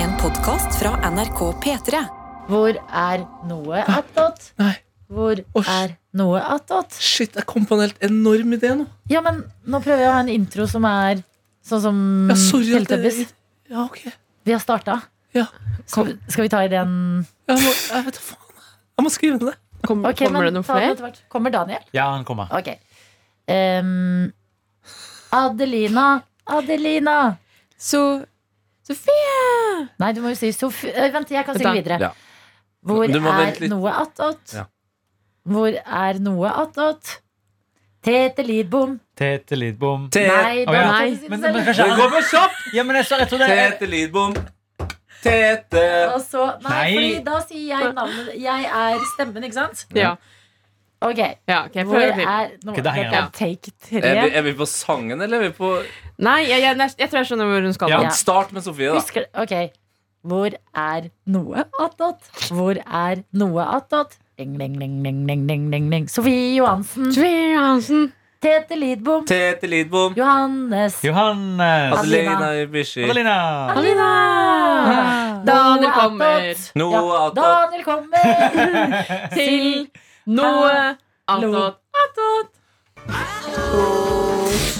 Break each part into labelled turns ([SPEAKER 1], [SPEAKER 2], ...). [SPEAKER 1] En podkast fra NRK P3.
[SPEAKER 2] Hvor er noe attåt?
[SPEAKER 3] Nei,
[SPEAKER 2] Hvor
[SPEAKER 3] Åsj.
[SPEAKER 2] er noe attåt?
[SPEAKER 3] shit, jeg kom på en helt enorm idé nå.
[SPEAKER 2] Ja, men nå prøver jeg å ha en intro som er sånn som
[SPEAKER 3] Ja, sorry at det-
[SPEAKER 2] Teletubbies.
[SPEAKER 3] Ja, ok.
[SPEAKER 2] Vi har starta.
[SPEAKER 3] Ja.
[SPEAKER 2] Skal, skal vi ta ideen
[SPEAKER 3] Jeg, må, jeg vet da faen. Jeg må skrive ned.
[SPEAKER 4] Kom,
[SPEAKER 2] Ok,
[SPEAKER 4] kommer
[SPEAKER 2] men
[SPEAKER 4] det noen
[SPEAKER 2] ta den
[SPEAKER 4] flere?
[SPEAKER 2] etter hvert. Kommer Daniel?
[SPEAKER 5] Ja, han kommer.
[SPEAKER 2] Ok. Ehm, Adelina. Adelina.
[SPEAKER 4] Så Sofie!
[SPEAKER 2] Nei, du må jo si Sof... eh, Vent, jeg kan synge
[SPEAKER 4] Vent da.
[SPEAKER 2] videre.
[SPEAKER 6] Ja.
[SPEAKER 2] Hvor
[SPEAKER 6] Du må
[SPEAKER 2] er
[SPEAKER 6] vente litt.
[SPEAKER 2] noe attåt?
[SPEAKER 6] Ja.
[SPEAKER 2] Hvor er noe attåt? Tete Lidbom.
[SPEAKER 5] Tete Lidbom.
[SPEAKER 3] Eh,
[SPEAKER 6] Te-
[SPEAKER 2] Nei,
[SPEAKER 5] Å, ja.
[SPEAKER 2] da-
[SPEAKER 4] Nei.
[SPEAKER 5] Men, men
[SPEAKER 2] Selv-
[SPEAKER 5] kanskje
[SPEAKER 6] Det går på kjapt!
[SPEAKER 5] Ja, men jeg, så, jeg tror det er
[SPEAKER 6] Tete Lidbom. Tete
[SPEAKER 2] Og så- nei,
[SPEAKER 5] Nei.
[SPEAKER 2] fordi da sier jeg navnet Jeg er stemmen, ikke sant?
[SPEAKER 4] Ja.
[SPEAKER 2] Ok.
[SPEAKER 4] ja ok, jeg
[SPEAKER 2] Hvor
[SPEAKER 4] prøver til.
[SPEAKER 2] er noe
[SPEAKER 5] Ok, da henger jeg
[SPEAKER 2] dette er
[SPEAKER 5] av.
[SPEAKER 2] Take
[SPEAKER 6] er vi,
[SPEAKER 2] tre.
[SPEAKER 6] er vi på sangen, eller er vi på
[SPEAKER 4] Nei, jeg, jeg, jeg, tror jeg skjønner hvor hun skal.
[SPEAKER 5] Ja.
[SPEAKER 4] nå.
[SPEAKER 2] Ja.
[SPEAKER 6] Start med Sofie, da.
[SPEAKER 2] Husker Ok. Hvor er noe attåt? Hvor er noe attåt? Ding, ding, ding, ding, ding, ding, ding, ding. Sofie Johansen.
[SPEAKER 4] Sofie Johansen.
[SPEAKER 2] Tete Lidbom.
[SPEAKER 6] Tete Lidbom.
[SPEAKER 2] Johannes.
[SPEAKER 5] Johannes.
[SPEAKER 6] Adelina Ibishi.
[SPEAKER 5] Adelina.
[SPEAKER 2] Adelina.
[SPEAKER 4] Daniel
[SPEAKER 2] Noe
[SPEAKER 4] kommer
[SPEAKER 2] attåt.
[SPEAKER 6] Noe
[SPEAKER 2] Ja,
[SPEAKER 6] attåt.
[SPEAKER 2] Daniel kommer.
[SPEAKER 4] til noe
[SPEAKER 2] Hallo.
[SPEAKER 4] attåt. Attåt.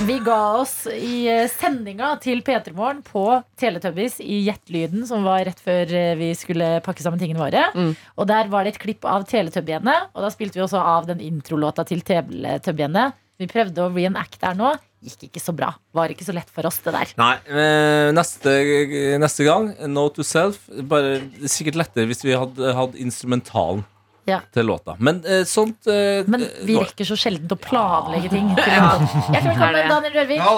[SPEAKER 2] Vi ga oss i eh, sendinga til P3 Morgen på Teletubbies i Gjettlyden, som var rett før eh, vi skulle pakke sammen tingene våre.
[SPEAKER 4] Mm.
[SPEAKER 2] Og der var det et klipp av Teletubbiene, og da spilte vi også av den introlåta til Teletubbiene. Vi prøvde å reenacte her nå. Gikk ikke så bra. Var ikke så lett for oss, det der.
[SPEAKER 6] Nei, eh, neste, neste gang, Note to Self. Bare, det er sikkert lettere hvis vi hadde hatt instrumentalen
[SPEAKER 2] Ja.
[SPEAKER 6] til låta. Men eh, sånt eh,
[SPEAKER 2] Men
[SPEAKER 6] eh,
[SPEAKER 2] vi
[SPEAKER 6] går.
[SPEAKER 2] rekker så sjelden å planlegge ting. Hjertelig velkommen, Daniel Rørvik.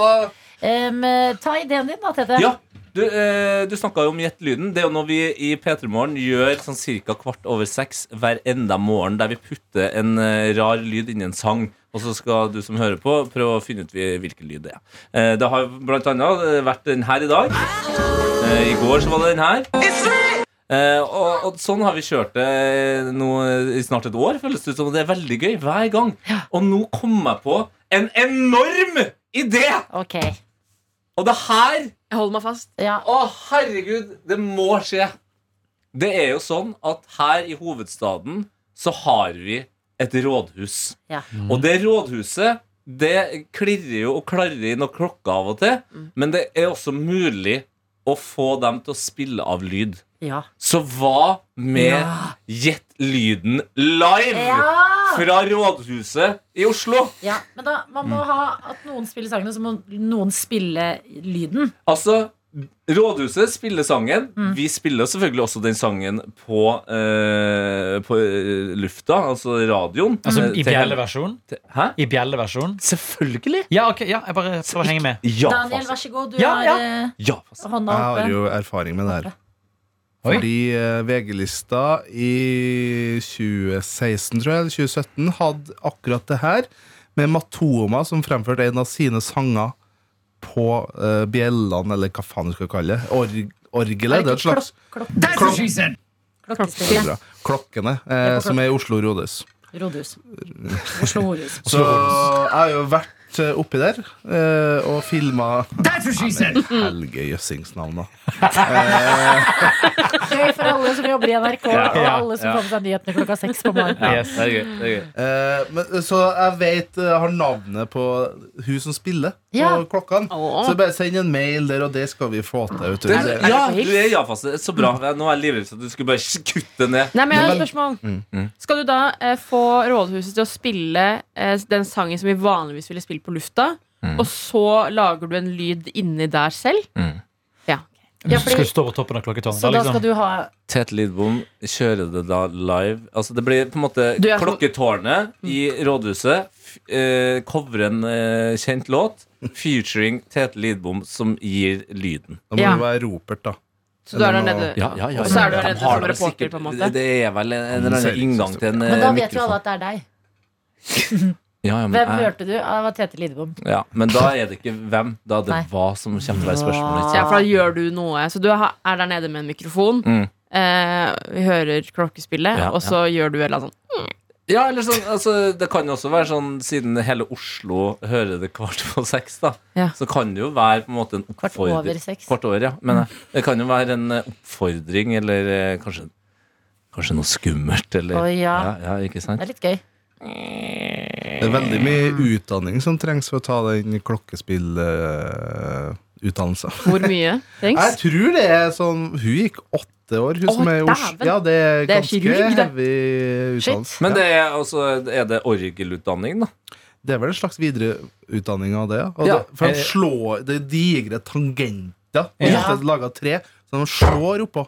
[SPEAKER 2] Em, eh, ta ideen din, da, Tete.
[SPEAKER 6] Ja, du, eh, du snakka jo om Gjett lyden. Det er jo noe vi i P3 Morgen gjør sånn ca. kvart over seks hver enda morgen, der vi putter en eh, rar lyd inni en sang. Og så skal du som hører på, prøve å finne ut vi- hvilken lyd det er. Eh, det har blant annet vært den her i dag. Eh, I går så var det den her. Eh, og, og sånn har vi kjørt det eh, nå i snart et år, føles det ut som. og Det er veldig gøy hver gang. Og nå kom jeg på en enorm idé!
[SPEAKER 2] Ok.
[SPEAKER 6] Og det her
[SPEAKER 4] Jeg holder meg fast.
[SPEAKER 2] Ja.
[SPEAKER 6] å, herregud, det må skje. Det er jo sånn at her i hovedstaden så har vi et rådhus.
[SPEAKER 2] Ja.
[SPEAKER 6] Og det rådhuset, det klirrer jo og klarrer i noen klokker av og til,
[SPEAKER 2] Mm.
[SPEAKER 6] men det er også mulig å få dem til å spille av lyd.
[SPEAKER 2] Ja.
[SPEAKER 6] Så hva med Gjett lyden live
[SPEAKER 2] ja.
[SPEAKER 6] fra Rådhuset i Oslo?
[SPEAKER 2] Ja, men da, man må ha at noen spiller sangene, så må noen spille lyden.
[SPEAKER 6] Altså, Rådhuset spiller sangen. Vi spiller selvfølgelig også den sangen på, eh, på eh, lufta, altså radioen.
[SPEAKER 5] Altså,
[SPEAKER 6] Eh,
[SPEAKER 5] I
[SPEAKER 6] til-
[SPEAKER 5] bjelleversjon?
[SPEAKER 6] til- Hæ?
[SPEAKER 5] I bjelleversjon?
[SPEAKER 6] Selvfølgelig!
[SPEAKER 5] Ja, ok, ja, jeg bare prøver å henge med.
[SPEAKER 6] Ja,
[SPEAKER 2] Daniel,
[SPEAKER 6] fasit.
[SPEAKER 2] vær så god, du
[SPEAKER 5] Ja, ja.
[SPEAKER 2] har eh,
[SPEAKER 6] Ja, fasit.
[SPEAKER 2] hånda
[SPEAKER 7] Jeg
[SPEAKER 2] oppe.
[SPEAKER 7] har jo erfaring med det her.
[SPEAKER 5] Oi.
[SPEAKER 7] Fordi eh, VG-lista i 2016, tror jeg, eller 2017, hadde akkurat det her. Med Matoma som fremførte en av sine sanger på eh, bjellene, eller hva faen du skal kalle det. Org orgelet. Det er et slags
[SPEAKER 2] klokk,
[SPEAKER 7] klokk-
[SPEAKER 2] klokkespille.
[SPEAKER 7] bra. Klokkene, eh, som er i Oslo Rådhus.
[SPEAKER 2] Rådhus. Oslo Horus.
[SPEAKER 7] Så jeg har jo vært eh, oppi der eh, og filma Helge Jøssings navn, da.
[SPEAKER 2] Gøy for alle som jobber i NRK, og
[SPEAKER 5] ja,
[SPEAKER 2] alle som får med seg nyhetene klokka seks på morgenen.
[SPEAKER 6] Ja,
[SPEAKER 5] Yes.
[SPEAKER 6] det er gøy. Det er gøy.
[SPEAKER 7] Eh, men, så jeg vet eh, Jeg har navnet på hun som spiller
[SPEAKER 2] Ja.
[SPEAKER 7] på klokkene.
[SPEAKER 4] Åh.
[SPEAKER 7] Så bare send en mail der, og det skal vi få til. Vet du.
[SPEAKER 6] Det,
[SPEAKER 7] Det-
[SPEAKER 6] er- ja, du er ja-fasit. Så bra. Nå er jeg livredd for at du skulle bare kutte ned.
[SPEAKER 4] Nei, men jeg har
[SPEAKER 7] Men-
[SPEAKER 4] et spørsmål. Skal du da eh, få Rådhuset til å spille eh, den sangen som vi vanligvis ville spille på lufta,
[SPEAKER 6] Mm.
[SPEAKER 4] og så lager du en lyd inni der selv? Ja.
[SPEAKER 2] Ja,
[SPEAKER 5] Skal du
[SPEAKER 2] fordi,
[SPEAKER 5] stå på toppen av klokketårnet?
[SPEAKER 2] så da skal
[SPEAKER 5] Liksom.
[SPEAKER 2] du ha
[SPEAKER 6] Tete Lidbom kjører det da live. Altså Det blir på en måte
[SPEAKER 4] Du er Mm. så-
[SPEAKER 6] klokketårnet i Rådhuset. f- Eh, Covre en eh, kjent låt. Featuring Tete Lidbom, som gir lyden.
[SPEAKER 7] Da må
[SPEAKER 4] Ja.
[SPEAKER 7] det være Ropert, da.
[SPEAKER 4] Så du er der nede.
[SPEAKER 6] Ja, ja, Mm. ja,
[SPEAKER 4] Og så er du
[SPEAKER 6] De
[SPEAKER 4] redd
[SPEAKER 6] har
[SPEAKER 4] som
[SPEAKER 6] det
[SPEAKER 4] reporter,
[SPEAKER 6] sikkert-
[SPEAKER 4] på en måte.
[SPEAKER 6] Det er vel en, en eller
[SPEAKER 7] Ser
[SPEAKER 6] annen
[SPEAKER 7] ikke
[SPEAKER 6] inngang
[SPEAKER 7] sånn
[SPEAKER 6] til en eh,
[SPEAKER 2] Men da vet jo alle
[SPEAKER 6] mikrofon. Mm, eh.
[SPEAKER 2] at det er deg.
[SPEAKER 6] Ja, ja,
[SPEAKER 2] Hvem
[SPEAKER 6] men, jeg-
[SPEAKER 2] hørte du? Ah, Det var Tete Lidebom.
[SPEAKER 6] ja, men da er det ikke hvem. Da er det
[SPEAKER 2] Nei.
[SPEAKER 6] hva som kommer til å være spørsmålet.
[SPEAKER 2] Hva?
[SPEAKER 4] Ja, for da gjør du noe. Så du ha- er der nede med en mikrofon.
[SPEAKER 6] Mm.
[SPEAKER 4] Eh, vi hører klokkespillet,
[SPEAKER 6] Ja,
[SPEAKER 4] og så gjør du et eller annet sånn
[SPEAKER 6] Ja, eller sånn, altså, det kan jo også være sånn Siden hele Oslo hører det kvart på seks, da,
[SPEAKER 4] Ja.
[SPEAKER 6] så kan det jo være på en måte en
[SPEAKER 2] Kvart
[SPEAKER 6] oppfordring
[SPEAKER 2] over seks.
[SPEAKER 6] Kvart over, ja. Men eh, det kan jo være en eh, oppfordring eller eh, kanskje, kanskje noe skummelt eller
[SPEAKER 2] Å, ja.
[SPEAKER 6] Ja, ja, ikke sant?
[SPEAKER 2] Det er litt gøy.
[SPEAKER 7] Det er veldig mye utdanning som trengs for å ta den klokkespillutdannelsen.
[SPEAKER 4] Hvor mye
[SPEAKER 7] Jeg
[SPEAKER 4] trengs?
[SPEAKER 7] tror det er sånn Hun gikk åtte år, hun
[SPEAKER 2] Å,
[SPEAKER 7] som er i Oslo.
[SPEAKER 2] dæven.
[SPEAKER 7] Ja, det er
[SPEAKER 4] Det er
[SPEAKER 7] ganske
[SPEAKER 4] kirurg, det.
[SPEAKER 7] heavy
[SPEAKER 2] Shit.
[SPEAKER 7] utdannelse.
[SPEAKER 6] Men
[SPEAKER 7] Ja.
[SPEAKER 6] det er, altså, er det orgelutdanning, da?
[SPEAKER 7] Det er vel en slags videreutdanning av det. ja. Og
[SPEAKER 6] Ja.
[SPEAKER 7] det for de slår Det er digre tangenter. Og
[SPEAKER 5] Ja.
[SPEAKER 7] så laga tre, så de slår oppå.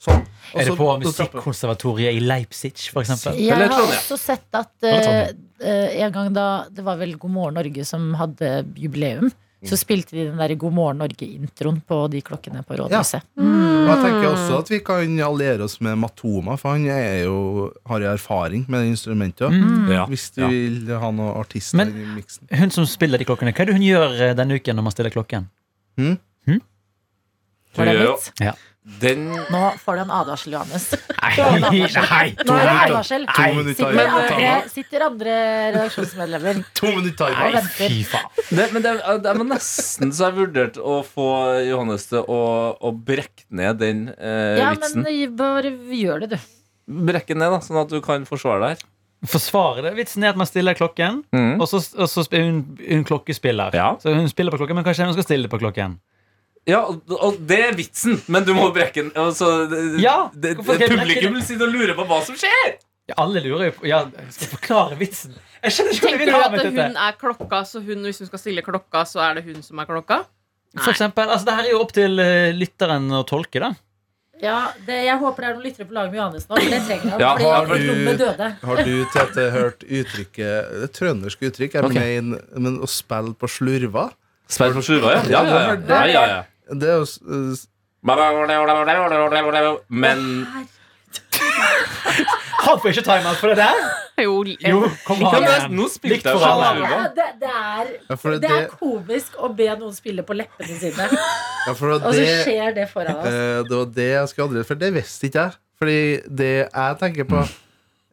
[SPEAKER 7] Sånn. Og
[SPEAKER 5] Er det
[SPEAKER 7] så-
[SPEAKER 5] på
[SPEAKER 7] så trapper-
[SPEAKER 5] Musikkonservatoriet i Leipzig, for eksempel?
[SPEAKER 2] Jeg
[SPEAKER 6] Eller
[SPEAKER 2] har
[SPEAKER 6] Trondheim.
[SPEAKER 2] også sett at
[SPEAKER 5] Eller
[SPEAKER 2] eh,
[SPEAKER 5] Trondheim.
[SPEAKER 2] eh, en gang da det var vel God morgen Norge som hadde jubileum, så spilte de den der God morgen Norge-introen på de klokkene på rådhuset.
[SPEAKER 7] Og jeg tenker også at vi kan alliere oss med Matoma, for han er jo, har jo erfaring med det instrumentet.
[SPEAKER 6] Ja.
[SPEAKER 7] Hvis du
[SPEAKER 6] Ja.
[SPEAKER 7] vil ha noen
[SPEAKER 5] Mm.
[SPEAKER 7] artister
[SPEAKER 5] Men-
[SPEAKER 7] i miksen.
[SPEAKER 5] Hun som spiller de klokkene, hva er det hun gjør eh, denne uken når man stiller klokken?
[SPEAKER 2] Var det
[SPEAKER 6] Du gjør jo-
[SPEAKER 2] vits?
[SPEAKER 6] Den
[SPEAKER 2] Nå får du en advarsel, Johannes.
[SPEAKER 5] Nei, nei!
[SPEAKER 2] Nå er det
[SPEAKER 7] minutter.
[SPEAKER 2] advarsel.
[SPEAKER 7] To minutter
[SPEAKER 2] Sitter
[SPEAKER 7] igjen.
[SPEAKER 2] andre, sitter andre redaksjonsmedlemmer
[SPEAKER 7] To minutter
[SPEAKER 2] og
[SPEAKER 7] timer.
[SPEAKER 2] venter.
[SPEAKER 5] faen.
[SPEAKER 6] det, men det, er- det var nesten så jeg vurderte å få Johannes til å, å brekke ned den eh,
[SPEAKER 2] Ja, men
[SPEAKER 6] vitsen.
[SPEAKER 2] bare gjør det, du.
[SPEAKER 6] Brekke ned, da, sånn at du kan forsvare deg her.
[SPEAKER 5] Forsvare det. Vitsen er at man stiller klokken,
[SPEAKER 6] Mhm.
[SPEAKER 5] og så, og så er hun, hun klokkespiller.
[SPEAKER 6] Ja.
[SPEAKER 5] Så hun spiller på klokken, men kanskje hun skal stille på klokken.
[SPEAKER 6] Ja, og- og det er vitsen, men du må brekke den. Altså, det-
[SPEAKER 5] Ja,
[SPEAKER 6] det,
[SPEAKER 5] hvorfor skal jeg brekke
[SPEAKER 6] publikum
[SPEAKER 5] den?
[SPEAKER 6] vil sitte og lure på hva som skjer!
[SPEAKER 5] Ja, alle lurer jo på Ja, jeg skal forklare vitsen. Jeg skjønner ikke hva de
[SPEAKER 4] Tenker
[SPEAKER 5] vil
[SPEAKER 4] du
[SPEAKER 5] ha
[SPEAKER 4] at
[SPEAKER 5] med dette.
[SPEAKER 4] hun er klokka, så hun, hvis hun skal stille klokka, så er det hun som er klokka?
[SPEAKER 5] For eksempel, altså, det her er jo opp til eh, lytteren å tolke, da.
[SPEAKER 2] Ja, det, jeg håper det er noen lyttere på lag med Johannes nå. for Det trenger han,
[SPEAKER 6] Ja,
[SPEAKER 2] fordi
[SPEAKER 6] har
[SPEAKER 7] du-
[SPEAKER 2] rommet døde.
[SPEAKER 7] Har du Tete, hørt uttrykket Det trønderske uttrykk, jeg
[SPEAKER 6] Ok.
[SPEAKER 7] mener, men å spille på slurva
[SPEAKER 6] Sperr for slurva, ja. Ja, ja, ja. ja, ja, ja.
[SPEAKER 7] Det er jo s- s-
[SPEAKER 6] Men
[SPEAKER 5] Han får ikke timeout for det der!
[SPEAKER 4] Jo,
[SPEAKER 5] Jo, kom
[SPEAKER 6] ja,
[SPEAKER 5] an.
[SPEAKER 6] men, Nå spilte jeg
[SPEAKER 5] for
[SPEAKER 6] for
[SPEAKER 5] alle.
[SPEAKER 6] slurva.
[SPEAKER 2] Ja, det, det, er,
[SPEAKER 7] Ja, for det-
[SPEAKER 2] det er
[SPEAKER 7] det-
[SPEAKER 2] komisk å be noen spille på leppene sine,
[SPEAKER 7] ja, for
[SPEAKER 2] og så
[SPEAKER 7] det,
[SPEAKER 2] skjer det foran oss.
[SPEAKER 7] eh, det var det jeg skulle adressere, for det visste ikke jeg. Fordi det jeg tenker på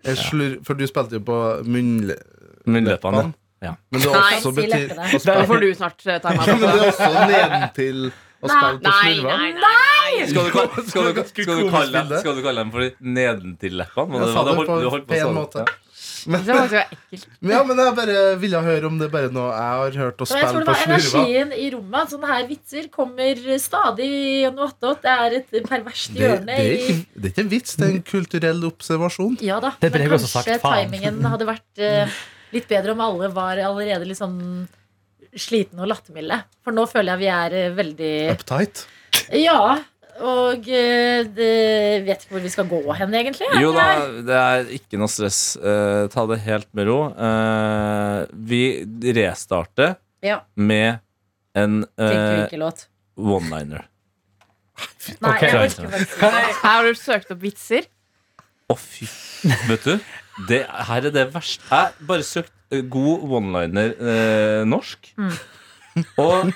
[SPEAKER 7] er slur, For du spilte jo på munnleppene.
[SPEAKER 6] Munnleppene.
[SPEAKER 7] Men det er
[SPEAKER 4] Nei,
[SPEAKER 7] også
[SPEAKER 2] si
[SPEAKER 7] betyr
[SPEAKER 2] leppene.
[SPEAKER 7] å
[SPEAKER 4] Der
[SPEAKER 7] spille-
[SPEAKER 4] får du snart eh, time
[SPEAKER 7] Ja, men det
[SPEAKER 4] out.
[SPEAKER 7] er også nedentil å spille på
[SPEAKER 4] Nei,
[SPEAKER 7] slurva.
[SPEAKER 4] nei, nei!
[SPEAKER 6] Skal du, kall- skal, du, skal, du kalle dem, skal du kalle dem for de nedentil-leppene?
[SPEAKER 7] Jeg sa det på en
[SPEAKER 6] sånn.
[SPEAKER 7] pen måte.
[SPEAKER 4] Det var faktisk ekkelt.
[SPEAKER 7] Men, ja, men jeg bare ville høre om det er bare noe jeg har hørt å
[SPEAKER 2] Og jeg tror
[SPEAKER 7] spille
[SPEAKER 2] det
[SPEAKER 7] på
[SPEAKER 2] var
[SPEAKER 7] slurva.
[SPEAKER 2] energien i rommet. at Sånne her vitser kommer stadig gjennom attåt. Det er et perverst
[SPEAKER 7] Det,
[SPEAKER 2] hjørne
[SPEAKER 7] det, er
[SPEAKER 2] i
[SPEAKER 7] ikke, det er ikke en vits, det er en kulturell observasjon.
[SPEAKER 2] Ja da.
[SPEAKER 5] Det burde
[SPEAKER 2] men
[SPEAKER 5] jeg også
[SPEAKER 2] kanskje
[SPEAKER 5] sagt, faen.
[SPEAKER 2] timingen hadde vært eh, litt bedre om alle var allerede litt sånn slitne og lattermilde. For nå føler jeg vi er eh, veldig
[SPEAKER 7] Uptight.
[SPEAKER 2] Ja. Og eh, det, vet ikke hvor vi skal gå hen, egentlig.
[SPEAKER 6] Jo da,
[SPEAKER 2] etter det her.
[SPEAKER 6] det er ikke noe stress. Eh, ta det helt med ro. Eh, vi restarter
[SPEAKER 2] Ja,
[SPEAKER 6] med en
[SPEAKER 2] tenkte vi
[SPEAKER 6] eh,
[SPEAKER 2] ikke låt.
[SPEAKER 6] one-liner.
[SPEAKER 2] Nei,
[SPEAKER 5] ok.
[SPEAKER 2] jeg orker faktisk ikke.
[SPEAKER 4] Her har du søkt opp vitser.
[SPEAKER 6] Å, fy Vet du, det, her er det verste. Jeg bare søkte eh, god one-liner eh, norsk.
[SPEAKER 4] Mm.
[SPEAKER 6] Og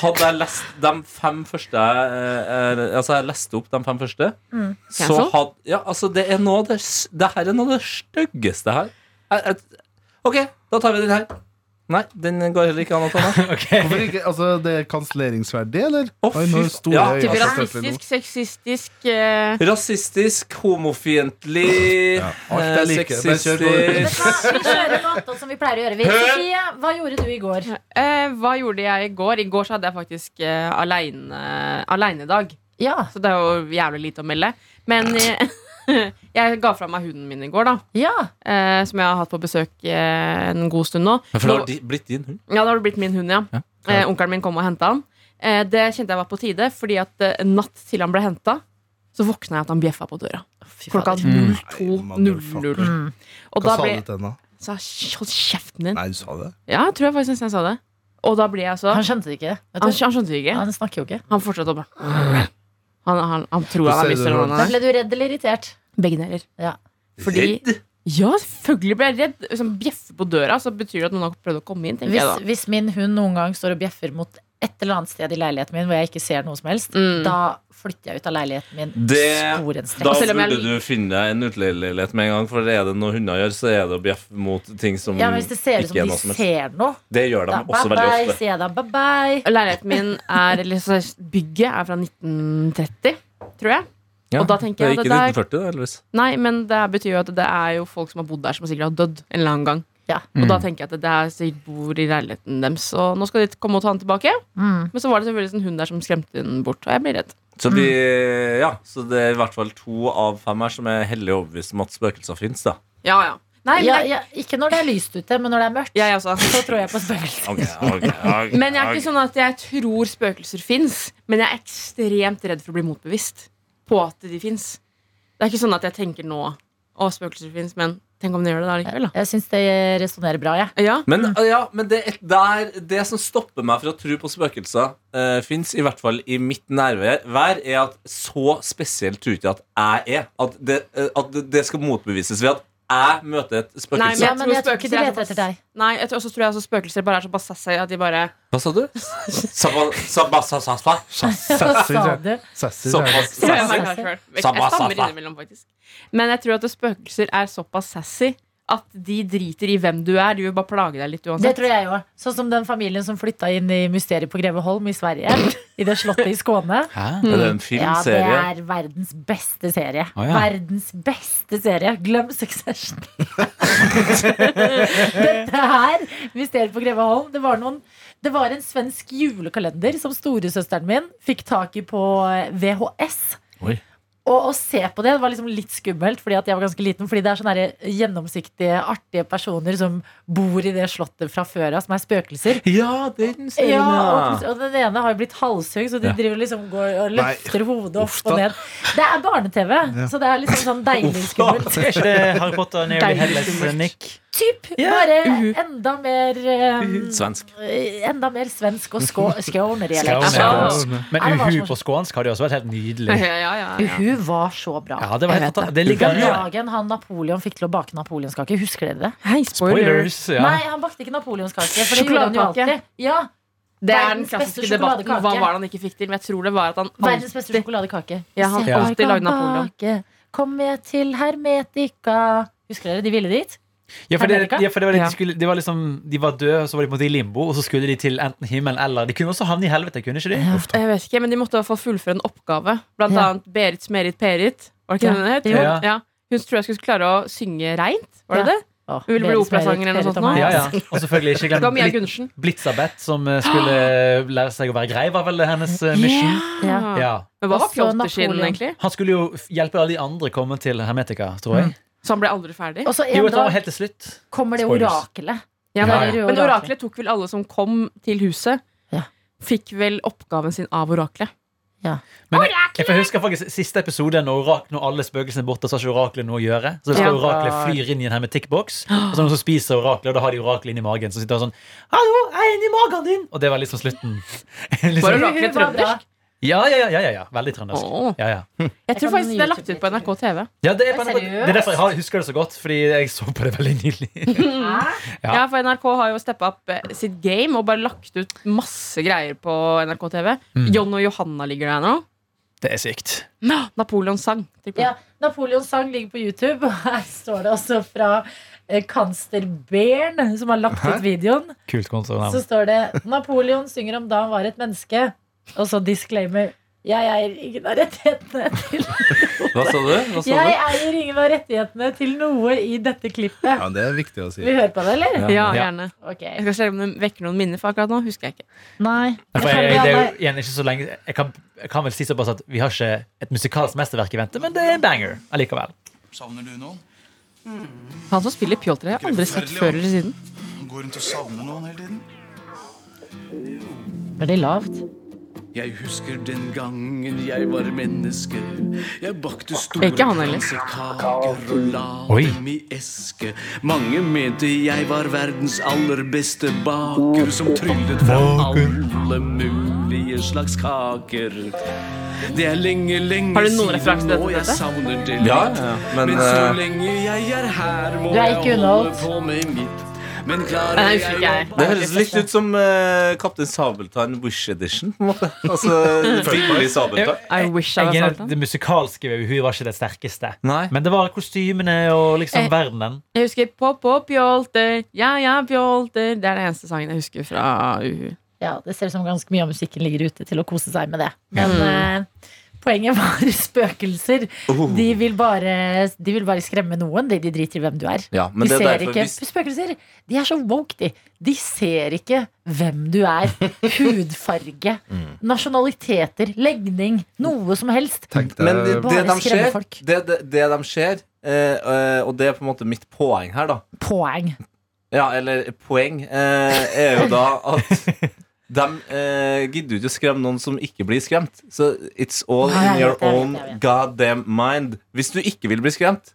[SPEAKER 6] hadde jeg lest de fem første jeg, eh, eh, Altså, jeg leste opp de fem første. Så
[SPEAKER 4] Mm. Cancel?
[SPEAKER 6] hadde Ja, altså, det er noe av det s- Det her er noe av det styggeste her. Jeg, jeg, OK, da tar vi den her. Nei, den går heller ikke an å ta med.
[SPEAKER 5] Ok.
[SPEAKER 7] Hvorfor ikke? Altså, det er kanselleringsverdig, eller?
[SPEAKER 6] Å,
[SPEAKER 7] Oi, nå
[SPEAKER 6] fy-
[SPEAKER 7] store
[SPEAKER 6] ja,
[SPEAKER 7] øyne
[SPEAKER 6] typ
[SPEAKER 7] som størtler nå.
[SPEAKER 4] Rasistisk, sexistisk eh,
[SPEAKER 6] Rasistisk, homofientlig,
[SPEAKER 7] Ja, alt
[SPEAKER 6] eh,
[SPEAKER 7] jeg liker. Bare kjør på.
[SPEAKER 2] Vet du
[SPEAKER 6] sexistisk
[SPEAKER 2] hva, Vi kjører noe annet som vi pleier å gjøre. Vi. Sofie, hva gjorde du i går?
[SPEAKER 4] eh, Hva gjorde jeg i går? I går så hadde jeg faktisk eh, aleine aleinedag.
[SPEAKER 2] Ja,
[SPEAKER 4] Så det er jo jævlig lite å melde. Men eh, jeg ga fra meg hunden min i går, da.
[SPEAKER 2] ja.
[SPEAKER 4] Eh, som jeg har hatt på besøk eh, en god stund nå.
[SPEAKER 6] For det
[SPEAKER 4] Nå-
[SPEAKER 6] har di- blitt din hund.
[SPEAKER 4] Ja, da har det blitt min hund, ja. Eh, onkelen min kom og henta han. Eh, det kjente jeg var på tide, fordi at eh, natt til han ble henta, så våkna jeg at han bjeffa på døra.
[SPEAKER 2] Fy
[SPEAKER 4] Klokka
[SPEAKER 2] fader.
[SPEAKER 5] Mm.
[SPEAKER 4] 02.00. Og
[SPEAKER 7] Hva
[SPEAKER 4] da
[SPEAKER 7] sa
[SPEAKER 4] ble
[SPEAKER 7] du til henne?
[SPEAKER 4] så jeg, Hold kjeften din!
[SPEAKER 7] Nei, du sa det?
[SPEAKER 4] Ja, jeg tror jeg faktisk nesten jeg sa det. Og da ble jeg så
[SPEAKER 2] Han
[SPEAKER 4] Han,
[SPEAKER 2] skjønte det ikke. vet
[SPEAKER 4] han
[SPEAKER 2] du.
[SPEAKER 4] skjønte det ikke.
[SPEAKER 2] Han snakker jo ikke.
[SPEAKER 4] Han fortsatte å bare han, han, han tror
[SPEAKER 7] Da
[SPEAKER 4] han
[SPEAKER 7] ser
[SPEAKER 4] er
[SPEAKER 7] du
[SPEAKER 4] misfornøyd.
[SPEAKER 2] Da
[SPEAKER 4] med det.
[SPEAKER 2] ble du redd eller irritert?
[SPEAKER 4] Begge deler.
[SPEAKER 2] Ja.
[SPEAKER 4] Fordi Ja, selvfølgelig ble jeg redd. Liksom, bjeffe på døra, så betyr det at noen har prøvd å komme inn. tenker jeg da
[SPEAKER 2] Hvis, hvis min hund noen gang står og bjeffer mot et eller annet sted i leiligheten min hvor jeg ikke ser noe som helst,
[SPEAKER 4] Mm.
[SPEAKER 2] da flytter jeg ut av leiligheten min
[SPEAKER 6] Det- Da
[SPEAKER 2] sporenstreks.
[SPEAKER 4] selv om jeg-
[SPEAKER 6] burde du finne deg en uteleilighet med en gang, for er det noe hunder gjør, så er det å bjeffe mot ting som
[SPEAKER 2] Ja, men hvis det ser ut
[SPEAKER 6] ikke
[SPEAKER 2] som
[SPEAKER 6] er noe
[SPEAKER 2] de
[SPEAKER 6] som helst.
[SPEAKER 2] ser noe,
[SPEAKER 6] Det gjør de
[SPEAKER 2] da
[SPEAKER 6] også
[SPEAKER 2] bye
[SPEAKER 6] veldig
[SPEAKER 2] bye,
[SPEAKER 6] ofte.
[SPEAKER 2] se deg, bye bye.
[SPEAKER 4] Leiligheten min er eller, så Bygget er fra 1930, tror jeg.
[SPEAKER 6] Ja,
[SPEAKER 4] og da tenker jeg
[SPEAKER 6] det
[SPEAKER 4] at
[SPEAKER 6] er
[SPEAKER 4] det
[SPEAKER 6] ikke
[SPEAKER 4] der-
[SPEAKER 6] 1940, det, heldigvis.
[SPEAKER 4] Nei, men det betyr jo at det er jo folk som har bodd der, som sikkert har dødd en eller annen gang.
[SPEAKER 2] Ja.
[SPEAKER 4] Og da tenker jeg at det er sikkert bor i leiligheten deres, og nå skal de komme og ta den tilbake.
[SPEAKER 2] Mm.
[SPEAKER 4] Men så var det selvfølgelig en hund der som skremte den bort, og jeg blir redd.
[SPEAKER 6] Så, de, ja, så det er i hvert fall to av fem her som er hellig overbevist om at spøkelser fins, da.
[SPEAKER 4] Ja, ja. Nei, men
[SPEAKER 2] Ja,
[SPEAKER 4] jeg,
[SPEAKER 2] ja, ikke når det er lyst ute, men når det er mørkt.
[SPEAKER 4] jeg også.
[SPEAKER 2] Så tror jeg på spøkelser.
[SPEAKER 6] Ok, ok, ok,
[SPEAKER 4] Men jeg er
[SPEAKER 6] ok.
[SPEAKER 4] ikke sånn at jeg tror spøkelser fins, men jeg er ekstremt redd for å bli motbevisst på at de fins. Det er ikke sånn at jeg tenker nå å, spøkelser fins, men tenk om de gjør det da likevel, da.
[SPEAKER 2] Jeg syns det resonnerer bra, jeg.
[SPEAKER 4] Ja.
[SPEAKER 6] Men, ja, men det, er der, det som stopper meg fra å tro på spøkelser, uh, fins i hvert fall i mitt nærvær, er at så spesielt tror ikke jeg at jeg er. At det, eh, at det- det skal motbevises ved at jeg møter et
[SPEAKER 4] Nei,
[SPEAKER 6] spøkelse.
[SPEAKER 4] men jeg
[SPEAKER 2] Ja,
[SPEAKER 4] tror
[SPEAKER 2] men jeg tror ikke de
[SPEAKER 4] spøkelser er
[SPEAKER 2] leter
[SPEAKER 4] såpass-
[SPEAKER 2] etter deg.
[SPEAKER 4] Nei, jeg tror, også tror jeg også spøkelser bare er så bassassy at de bare
[SPEAKER 6] Hva sa du? Sabba, sabba, sa- sa- sa- sa-
[SPEAKER 7] Sassy,
[SPEAKER 2] Sa
[SPEAKER 7] tror jeg.
[SPEAKER 2] du?
[SPEAKER 7] Sassy, tror jeg.
[SPEAKER 6] Såpass.
[SPEAKER 4] Tror jeg
[SPEAKER 2] Sassy.
[SPEAKER 4] meg kanskje sjøl. Jeg
[SPEAKER 6] Sabba,
[SPEAKER 4] stammer
[SPEAKER 6] sabba.
[SPEAKER 4] innimellom, faktisk. Men jeg tror at spøkelser er såpass sassy at de driter i hvem du er. De vil bare plage deg litt
[SPEAKER 2] Det
[SPEAKER 4] uansett.
[SPEAKER 2] tror jeg òg. Sånn som den familien som flytta inn i mysteriet på Greveholm i Sverige. I det slottet i Skåne.
[SPEAKER 5] Hæ?
[SPEAKER 6] Er det en
[SPEAKER 2] Mm. Ja, det
[SPEAKER 6] filmserie?
[SPEAKER 2] er verdens beste serie.
[SPEAKER 5] Å, ja.
[SPEAKER 2] Verdens beste serie. Glem Succession. Dette her, Mysteriet på Greveholm, det var noen det var en svensk julekalender som storesøsteren min fikk tak i på eh, VHS.
[SPEAKER 5] Oi.
[SPEAKER 2] Og å se på det, det var liksom litt skummelt, fordi at jeg var ganske liten. Fordi det er sånne her gjennomsiktige, artige personer som bor i det slottet fra før av, som er spøkelser.
[SPEAKER 6] Ja, den serien,
[SPEAKER 2] Ja, og,
[SPEAKER 6] ja.
[SPEAKER 2] plutselig- og den ene har jo blitt halshugg, så de
[SPEAKER 5] Ja.
[SPEAKER 2] driver liksom går og løfter hodet
[SPEAKER 7] Uff
[SPEAKER 2] opp
[SPEAKER 7] da.
[SPEAKER 2] og ned. Det er barne-TV, så det er liksom sånn deilig skummelt.
[SPEAKER 5] Er ikke det Harry Potter og Nearly
[SPEAKER 4] Deilig
[SPEAKER 5] Helles,
[SPEAKER 4] skummelt.
[SPEAKER 5] Nick?
[SPEAKER 2] Typ,
[SPEAKER 5] Ja.
[SPEAKER 2] bare enda mer um,
[SPEAKER 6] Svensk.
[SPEAKER 2] Enda mer svensk og skå- Altså, skåner.
[SPEAKER 5] Skåner.
[SPEAKER 4] Ja.
[SPEAKER 5] Men
[SPEAKER 2] Nei, det var
[SPEAKER 5] Uhu
[SPEAKER 2] sånn.
[SPEAKER 5] på skånsk hadde jo også vært helt nydelig.
[SPEAKER 4] Ja, ja, ja, ja.
[SPEAKER 2] Hun var så bra.
[SPEAKER 5] Ja, det var helt fantastisk. Det ligger
[SPEAKER 2] Den dagen han Napoleon fikk til å bake napoleonskake, husker dere det?
[SPEAKER 4] Hei, spoiler.
[SPEAKER 5] Spoilers. Ja.
[SPEAKER 2] Nei, han bakte ikke napoleonskake. For det gjorde han jo
[SPEAKER 4] Sjokoladekake.
[SPEAKER 2] alltid. Ja,
[SPEAKER 4] Det er den
[SPEAKER 2] Verdens beste
[SPEAKER 4] klassiske debatten. Hva
[SPEAKER 2] sjokoladekake.
[SPEAKER 4] var det han ikke fikk til? Men jeg tror det var at han
[SPEAKER 2] Verdens beste
[SPEAKER 4] alltid
[SPEAKER 2] sjokoladekake.
[SPEAKER 4] Ja, han
[SPEAKER 2] Se,
[SPEAKER 5] alltid
[SPEAKER 2] jeg kan
[SPEAKER 4] lagde Napoleon.
[SPEAKER 2] bake. Kom jeg til Hermetika Husker dere de ville dit?
[SPEAKER 5] Ja, for det,
[SPEAKER 2] Amerika?
[SPEAKER 5] ja, for det var litt,
[SPEAKER 4] Ja.
[SPEAKER 5] de skulle, de, var liksom, de var døde, og så var de på en måte i limbo, og så skulle de til enten himmelen eller De kunne også havne i helvete, kunne ikke de?
[SPEAKER 4] Jeg vet ikke, men de måtte i hvert fall fullføre en oppgave. Blant
[SPEAKER 2] Ja.
[SPEAKER 4] annet Berits Merit Perit. Var det
[SPEAKER 2] Ja.
[SPEAKER 4] ikke det den het?
[SPEAKER 5] Jo.
[SPEAKER 4] Ja. Hun tror jeg skulle klare å synge reint. Var
[SPEAKER 2] Ja.
[SPEAKER 4] det det? Hun ville bli operasanger eller noe sånt nå.
[SPEAKER 5] Ja, ja. Og selvfølgelig ikke
[SPEAKER 4] Det var Mia
[SPEAKER 5] glem
[SPEAKER 4] Gundersen.
[SPEAKER 5] Blitzabeth, som eh, skulle lære seg å være grei, var vel hennes eh, mission.
[SPEAKER 4] Ja.
[SPEAKER 5] Ja.
[SPEAKER 4] Men hva var
[SPEAKER 2] Og så
[SPEAKER 4] Pjotr sin,
[SPEAKER 2] Napoleon.
[SPEAKER 4] egentlig?
[SPEAKER 5] Han skulle jo f- hjelpe alle de andre å komme til Hermetika, tror jeg.
[SPEAKER 4] Så han ble aldri ferdig?
[SPEAKER 2] Og så en
[SPEAKER 5] Jo, det var
[SPEAKER 2] dag
[SPEAKER 5] helt til slutt.
[SPEAKER 2] kommer det
[SPEAKER 5] Spoilers.
[SPEAKER 2] orakelet.
[SPEAKER 4] Ja,
[SPEAKER 5] Ja,
[SPEAKER 4] men-
[SPEAKER 5] ja.
[SPEAKER 4] Men oraklet tok vel alle som kom til huset.
[SPEAKER 2] Ja.
[SPEAKER 4] Fikk vel oppgaven sin av oraklet.
[SPEAKER 5] Men jeg, jeg får husker faktisk siste episode når, orak, når alle spøkelsene er borte, så har ikke oraklet noe å gjøre. Så det
[SPEAKER 4] Ja.
[SPEAKER 5] skal oraklet flyr inn i en hermetikkboks, og så er det noen som spiser oraklet, og da har de oraklet inni magen. Så sitter han sånn Hallo, jeg er inni magen din! Og det var liksom slutten.
[SPEAKER 4] Var
[SPEAKER 5] liksom,
[SPEAKER 4] oraklet
[SPEAKER 2] Hun var bra.
[SPEAKER 4] trøndersk?
[SPEAKER 5] ja, ja, ja, ja, ja, ja. Veldig trøndersk.
[SPEAKER 4] Åh.
[SPEAKER 5] Ja, ja.
[SPEAKER 4] Jeg tror
[SPEAKER 2] kan
[SPEAKER 4] faktisk det er lagt ut på
[SPEAKER 2] YouTube-videoer.
[SPEAKER 4] NRK TV.
[SPEAKER 5] Ja, det, er på
[SPEAKER 2] Men
[SPEAKER 5] NRK det er derfor jeg har- husker det så godt, fordi jeg så på det veldig nylig. Ja.
[SPEAKER 4] Ja. for NRK har jo steppa opp eh, sitt game og bare lagt ut masse greier på NRK TV. John og Johanna ligger der nå.
[SPEAKER 5] Det er sykt.
[SPEAKER 4] Napoleons sang. tenk på
[SPEAKER 2] Ja,
[SPEAKER 4] det.
[SPEAKER 2] Napoleons sang ligger på YouTube, og her står det også fra eh, Kanster Bern, som har lagt ut videoen.
[SPEAKER 5] Kult
[SPEAKER 2] Så
[SPEAKER 5] konsernavn.
[SPEAKER 2] står det 'Napoleon synger om da han var et menneske', og så disclaimer 'Jeg eier ingen av rettighetene til
[SPEAKER 5] Sånn.
[SPEAKER 6] Hva sa du? Hva sa
[SPEAKER 2] Jeg
[SPEAKER 6] du?
[SPEAKER 2] eier ingen av rettighetene til noe i dette klippet.
[SPEAKER 7] Ja, det er viktig å si.
[SPEAKER 2] Vi hører på det, eller?
[SPEAKER 4] Ja,
[SPEAKER 5] Ja.
[SPEAKER 4] gjerne.
[SPEAKER 2] Ok.
[SPEAKER 4] Jeg skal se om det vekker noen minner, for akkurat nå husker jeg ikke.
[SPEAKER 2] Nei.
[SPEAKER 5] For jeg, det er jo igjen ikke så lenge Jeg kan, jeg kan vel si såpass at vi har ikke et musikalsk mesterverk i vente, men det er en banger allikevel.
[SPEAKER 8] Savner du noen?
[SPEAKER 4] Han som spiller Pjotr, har jeg aldri sett før eller siden.
[SPEAKER 8] Går rundt og savner noen hele tiden?
[SPEAKER 2] Veldig lavt.
[SPEAKER 8] Jeg husker den gangen jeg var menneske. Jeg bakte store
[SPEAKER 4] Ikke han heller.
[SPEAKER 8] kransekaker og la
[SPEAKER 5] Oi.
[SPEAKER 8] dem i eske. Mange mente jeg var verdens aller beste baker, som tryllet fram alle mulige slags kaker. Det er lenge, lenge
[SPEAKER 4] Har du noen referanse til dette,
[SPEAKER 8] og jeg
[SPEAKER 4] Tete?
[SPEAKER 8] savner det
[SPEAKER 6] Ja,
[SPEAKER 8] litt.
[SPEAKER 6] ja,
[SPEAKER 8] Men
[SPEAKER 6] men
[SPEAKER 8] så
[SPEAKER 6] eh,
[SPEAKER 8] lenge jeg er her, må
[SPEAKER 2] Du er
[SPEAKER 8] jeg
[SPEAKER 2] ikke
[SPEAKER 8] holde
[SPEAKER 2] underholdt.
[SPEAKER 8] på med mitt. Men klarer
[SPEAKER 4] Nei, jeg husker ikke jeg.
[SPEAKER 8] å
[SPEAKER 6] Det høres litt ut som uh, Kaptein Sabeltann Wish Edition. På en måte. Altså, Billy Sabeltann.
[SPEAKER 4] I wish I
[SPEAKER 5] Jeg
[SPEAKER 4] was
[SPEAKER 5] er
[SPEAKER 4] Sabeltann.
[SPEAKER 5] det musikalske ved Uhu var ikke det sterkeste.
[SPEAKER 6] Nei.
[SPEAKER 5] Men det var kostymene og liksom
[SPEAKER 4] Eh.
[SPEAKER 5] verdenen.
[SPEAKER 4] Jeg husker Pop, pop, pjolter, ja, ja, pjolter. Det er den eneste sangen jeg husker fra Uhu.
[SPEAKER 2] Ja, det ser ut som ganske mye av musikken ligger ute til å kose seg med det. Men eh, poenget var spøkelser.
[SPEAKER 6] Oh.
[SPEAKER 2] De, vil bare, de vil bare skremme noen. De, de driter i hvem du er.
[SPEAKER 6] Ja, men
[SPEAKER 2] De
[SPEAKER 6] det er
[SPEAKER 2] ser
[SPEAKER 6] derfor
[SPEAKER 2] ikke
[SPEAKER 6] hvis-
[SPEAKER 2] Spøkelser de er så woke, de. De ser ikke hvem du er. Hudfarge, nasjonaliteter, legning, noe som helst.
[SPEAKER 7] Tenk deg-
[SPEAKER 6] Men det, det,
[SPEAKER 2] Bare
[SPEAKER 6] de
[SPEAKER 2] skremme
[SPEAKER 6] ser,
[SPEAKER 2] folk.
[SPEAKER 6] det, det, det de ser eh, eh, Og det er på en måte mitt poeng her, da.
[SPEAKER 2] Poeng.
[SPEAKER 6] Ja, eller poeng eh, er jo da at de eh, gidder jo ikke å skremme noen som ikke blir skremt. Så it's all
[SPEAKER 2] Nei,
[SPEAKER 6] in
[SPEAKER 2] jeg
[SPEAKER 6] your
[SPEAKER 2] vet det, jeg vet
[SPEAKER 6] own
[SPEAKER 2] det, jeg vet det.
[SPEAKER 6] goddamn mind. Hvis du ikke vil bli skremt,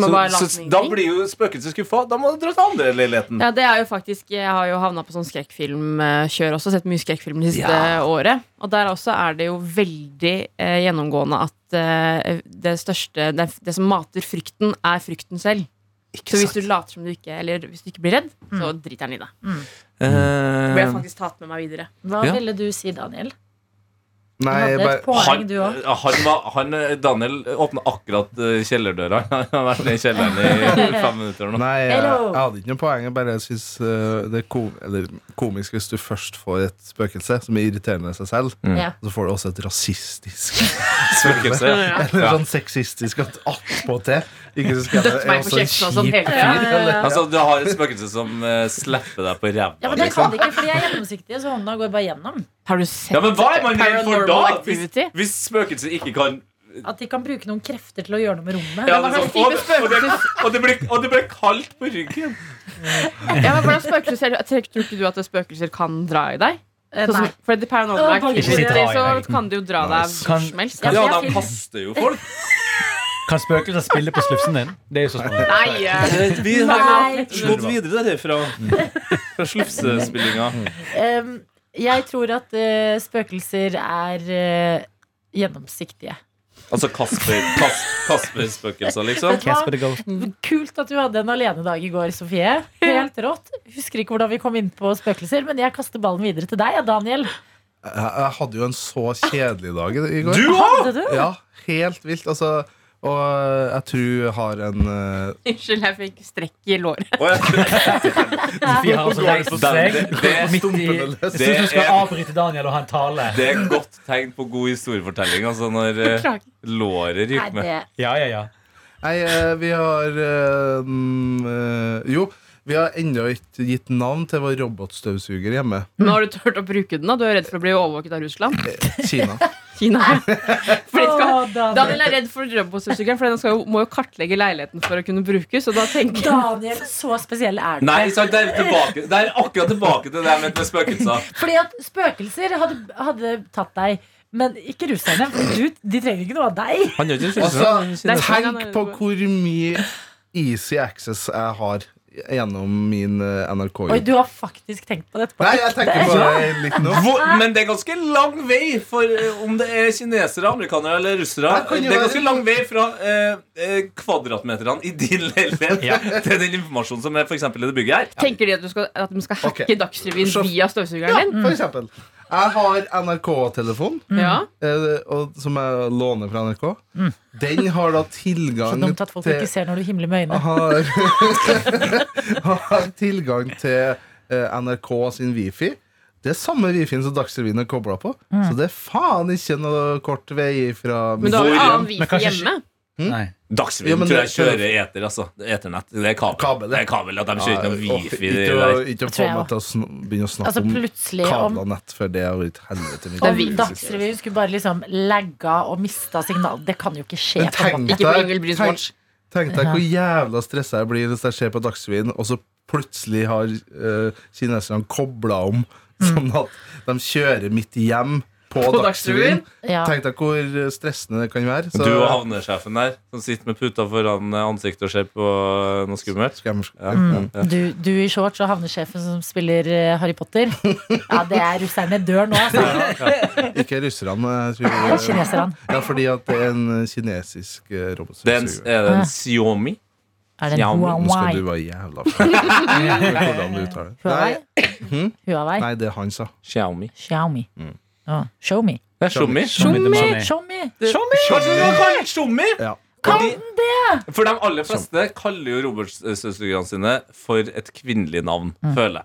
[SPEAKER 4] Må
[SPEAKER 6] så,
[SPEAKER 4] bare late
[SPEAKER 6] så
[SPEAKER 4] som
[SPEAKER 6] da
[SPEAKER 4] ingenting.
[SPEAKER 6] blir jo spøkelset skuffa. Da må du dra til andre leiligheten.
[SPEAKER 4] Ja, det er jo faktisk Jeg har jo havna på sånn skrekkfilmkjør også. Sett mye skrekkfilm det siste året. Og der også er det jo veldig eh, gjennomgående at eh, det største det, det som mater frykten, er frykten selv. så hvis du later som du ikke Eller hvis du ikke blir redd, så
[SPEAKER 6] Mm.
[SPEAKER 4] driter den i deg.
[SPEAKER 6] Eh,
[SPEAKER 4] Det ble jeg faktisk tatt med meg videre.
[SPEAKER 2] Hva
[SPEAKER 6] Ja.
[SPEAKER 2] ville du si, Daniel? Du
[SPEAKER 7] Nei, jeg
[SPEAKER 2] hadde et
[SPEAKER 7] bare
[SPEAKER 2] poeng,
[SPEAKER 6] han,
[SPEAKER 2] du òg.
[SPEAKER 6] han, var, han, eh, Daniel åpna akkurat eh, kjellerdøra. Han har vært nede i kjelleren i fem minutter nå.
[SPEAKER 7] Nei, jeg,
[SPEAKER 2] Hello.
[SPEAKER 7] jeg hadde ikke noe poeng. Jeg bare syns det er kom, eller, komisk hvis du først får et spøkelse som er irriterende i seg selv,
[SPEAKER 2] Ja.
[SPEAKER 7] og så får du også et rasistisk
[SPEAKER 6] Mm. Spøkelse.
[SPEAKER 7] eller
[SPEAKER 6] Ja.
[SPEAKER 7] sånn sexistisk at attpåtil ikke så skal jeg
[SPEAKER 4] Dødt meg på kjeften og sånn hele tiden.
[SPEAKER 6] Altså, du har et spøkelse som eh, slapper deg på ræva. liksom.
[SPEAKER 2] Ja, men det kan de ikke, for de er gjennomsiktige, så hånda går bare gjennom.
[SPEAKER 4] Har du sett
[SPEAKER 6] Ja, men hva er man redd for da?
[SPEAKER 4] Paranormal
[SPEAKER 6] Hvis,
[SPEAKER 4] Activity?
[SPEAKER 6] hvis spøkelset ikke kan
[SPEAKER 2] At de kan bruke noen krefter til å gjøre noe med rommet.
[SPEAKER 6] Ja,
[SPEAKER 4] hva
[SPEAKER 6] det er
[SPEAKER 4] slags
[SPEAKER 6] sånn,
[SPEAKER 4] type
[SPEAKER 6] og, og, det, og, det ble, og det ble kaldt på ryggen.
[SPEAKER 4] Ja, men hvordan spøkelser ser du- Tror tror ikke du at spøkelser kan dra i deg?
[SPEAKER 2] Eh,
[SPEAKER 4] Sånn,
[SPEAKER 2] Nei.
[SPEAKER 4] som- for det paranormal
[SPEAKER 2] Å,
[SPEAKER 4] activity,
[SPEAKER 5] Ikke si dra i deg,
[SPEAKER 4] så
[SPEAKER 5] Morten.
[SPEAKER 4] kan det jo dra deg hvor som helst.
[SPEAKER 5] Kan-
[SPEAKER 6] Ja,
[SPEAKER 2] jeg
[SPEAKER 6] de
[SPEAKER 2] finner-
[SPEAKER 6] kaster jo folk.
[SPEAKER 5] Kan spøkelser spille på slufsen din? Det er jo så spennende.
[SPEAKER 4] Nei! eh,
[SPEAKER 6] Vi
[SPEAKER 2] Nei.
[SPEAKER 6] slått videre derifra. Fra slufsespillinga.
[SPEAKER 2] Um, jeg tror at eh, spøkelser er eh, gjennomsiktige.
[SPEAKER 6] Altså Kasper, Kas, Kasper-spøkelser, liksom.
[SPEAKER 2] Hva?
[SPEAKER 5] Casper the Ghost.
[SPEAKER 2] Kult at du hadde en alenedag i går, Sofie. Helt rått. Husker ikke hvordan vi kom inn på spøkelser, men jeg kaster ballen videre til deg, ja, Daniel.
[SPEAKER 7] Jeg, jeg hadde jo en så kjedelig dag i- i går.
[SPEAKER 6] Du òg!
[SPEAKER 2] Hadde du?
[SPEAKER 7] Ja, helt vilt. Altså, og jeg tror jeg har en eh,
[SPEAKER 4] Unnskyld, jeg fikk strekk i låret.
[SPEAKER 5] Sofie har også reist seg.
[SPEAKER 6] Det- det er
[SPEAKER 5] Midt i
[SPEAKER 7] stumpene løs.
[SPEAKER 5] Så du skal
[SPEAKER 6] er-
[SPEAKER 5] avbryte Daniel og ha en tale.
[SPEAKER 6] Det er et godt tegn på god historiefortelling, altså, når eh,
[SPEAKER 4] Beklager.
[SPEAKER 6] låret
[SPEAKER 2] Nei,
[SPEAKER 6] ryker med.
[SPEAKER 2] det,
[SPEAKER 5] Ja, ja, ja.
[SPEAKER 7] Nei, eh, vi har eh, mm, eh, Jo, vi har ennå ikke gitt navn til vår robotstøvsuger hjemme.
[SPEAKER 4] Nå har du turt å bruke den, da. Du er redd for å bli overvåket av Russland.
[SPEAKER 7] Kina.
[SPEAKER 4] Kina. Fordi det skal
[SPEAKER 2] Å, Daniel.
[SPEAKER 4] Daniel er redd for robotstøvsugeren, for den skal jo, må jo kartlegge leiligheten for å kunne brukes. Og da tenker jeg
[SPEAKER 2] Daniel, så spesiell er du.
[SPEAKER 6] Nei, sant, det er, tilbake, det er akkurat tilbake til det jeg mente med spøkelser.
[SPEAKER 2] Fordi at spøkelser hadde, hadde tatt deg. Men ikke russerne. For du, de trenger ikke noe av deg.
[SPEAKER 6] Han gjør ikke
[SPEAKER 7] Altså,
[SPEAKER 4] Det er Kina,
[SPEAKER 7] tenk
[SPEAKER 4] det er
[SPEAKER 7] på
[SPEAKER 4] det.
[SPEAKER 7] hvor mye easy access jeg har gjennom min eh, NRK.
[SPEAKER 2] Oi, du har faktisk tenkt på dette. på
[SPEAKER 7] Nei, jeg
[SPEAKER 2] ekte.
[SPEAKER 7] tenker på det litt nå.
[SPEAKER 6] Hvor, men det er ganske lang vei for eh, om det er kinesere, amerikanere eller russere.
[SPEAKER 7] Her kan
[SPEAKER 6] Det
[SPEAKER 7] jo
[SPEAKER 6] er
[SPEAKER 7] være-
[SPEAKER 6] ganske lang vei fra eh, eh, kvadratmeterne i din leilighet
[SPEAKER 5] Ja.
[SPEAKER 6] til den informasjonen som er for eksempel i det bygget her.
[SPEAKER 4] Tenker de at, du skal, at de skal hacke
[SPEAKER 7] Ok.
[SPEAKER 4] Dagsrevyen
[SPEAKER 7] Så-
[SPEAKER 4] via
[SPEAKER 7] Ja,
[SPEAKER 4] støvsugeren din?
[SPEAKER 7] for eksempel. Jeg har NRK-telefon,
[SPEAKER 4] Ja.
[SPEAKER 7] eh, og- som jeg låner fra NRK. Den har da
[SPEAKER 2] Mm. Så
[SPEAKER 7] tilgang
[SPEAKER 2] dumt at folk ikke ser når du himler med øynene.
[SPEAKER 7] har, har tilgang til eh, NRK sin wifi. Det er samme wifien som Dagsrevyen er kobla på.
[SPEAKER 2] Mm.
[SPEAKER 7] Så det er faen ikke noe kort vei fra
[SPEAKER 4] Men du har jo
[SPEAKER 6] Hvor-
[SPEAKER 4] annen
[SPEAKER 5] Men
[SPEAKER 4] wifi
[SPEAKER 5] kanskje-
[SPEAKER 4] hjemme.
[SPEAKER 5] Nei.
[SPEAKER 6] Dagsrevyen
[SPEAKER 7] Ja, men
[SPEAKER 6] tror
[SPEAKER 7] det-
[SPEAKER 6] jeg kjører eter, altså. Eternett. Det er kabel.
[SPEAKER 7] Kabel,
[SPEAKER 6] det
[SPEAKER 7] ja.
[SPEAKER 6] er kabel at de kjører ikke noe
[SPEAKER 7] Ja, og
[SPEAKER 6] wifi.
[SPEAKER 7] ikke
[SPEAKER 6] det
[SPEAKER 7] å-
[SPEAKER 6] der.
[SPEAKER 7] Ikke å
[SPEAKER 2] tror
[SPEAKER 7] få
[SPEAKER 2] jeg
[SPEAKER 7] meg til å sn begynne å snakke
[SPEAKER 2] Altså
[SPEAKER 7] om
[SPEAKER 2] plutselig om,
[SPEAKER 7] kabla nett, for det har vært helvete. mitt.
[SPEAKER 4] er
[SPEAKER 2] om
[SPEAKER 4] vilt.
[SPEAKER 2] Dagsrevyen skulle bare liksom lagga og mista signal. Det kan jo ikke skje.
[SPEAKER 7] Men
[SPEAKER 2] på en
[SPEAKER 7] tenk
[SPEAKER 2] måte.
[SPEAKER 4] Ikke på Ingvild Bryns
[SPEAKER 7] tenk-
[SPEAKER 4] watch.
[SPEAKER 7] Tenk deg hvor jævla stressa jeg blir hvis jeg ser på Dagsrevyen, og så plutselig har eh, kineserne kobla om,
[SPEAKER 2] Mm.
[SPEAKER 7] sånn at de kjører mitt hjem på,
[SPEAKER 4] På
[SPEAKER 7] Dagsrevyen.
[SPEAKER 2] Ja.
[SPEAKER 7] Tenk deg hvor eh, stressende det kan være. Så
[SPEAKER 6] Du og havnesjefen der som sitter med puta foran eh, ansiktet og ser på eh, noe skummelt.
[SPEAKER 7] Skal jeg-
[SPEAKER 6] Ja.
[SPEAKER 2] Du, du i shorts og havnesjefen som spiller eh, Harry Potter. Ja, det er russerne dør nå, altså.
[SPEAKER 7] Ikke russerne. jeg
[SPEAKER 2] Det er
[SPEAKER 7] Tror
[SPEAKER 2] kineserne.
[SPEAKER 7] ja, fordi at det er en kinesisk
[SPEAKER 6] Det
[SPEAKER 7] eh,
[SPEAKER 6] er en,
[SPEAKER 7] robotstøvsuger.
[SPEAKER 6] er det en Xiaomi?
[SPEAKER 2] Er det
[SPEAKER 6] Ja,
[SPEAKER 2] en
[SPEAKER 6] men
[SPEAKER 7] Nå skal
[SPEAKER 2] Huawei?
[SPEAKER 7] du være jævla flau. Hvordan du uttaler det.
[SPEAKER 2] Huawei?
[SPEAKER 7] Nei, Mhm.
[SPEAKER 2] Huawei?
[SPEAKER 7] Nei, det er han, sa.
[SPEAKER 6] Xiaomi.
[SPEAKER 2] Xiaomi.
[SPEAKER 7] Mm.
[SPEAKER 2] Ja, show me.
[SPEAKER 6] Det er Xiaomi.
[SPEAKER 5] Tjommi!
[SPEAKER 2] Show me!
[SPEAKER 6] Kanskje du kaller Xiaomi?
[SPEAKER 7] Ja.
[SPEAKER 6] Kan det? For de aller fleste kaller jo Roberts-søstrene sine for et kvinnelig navn, føler jeg.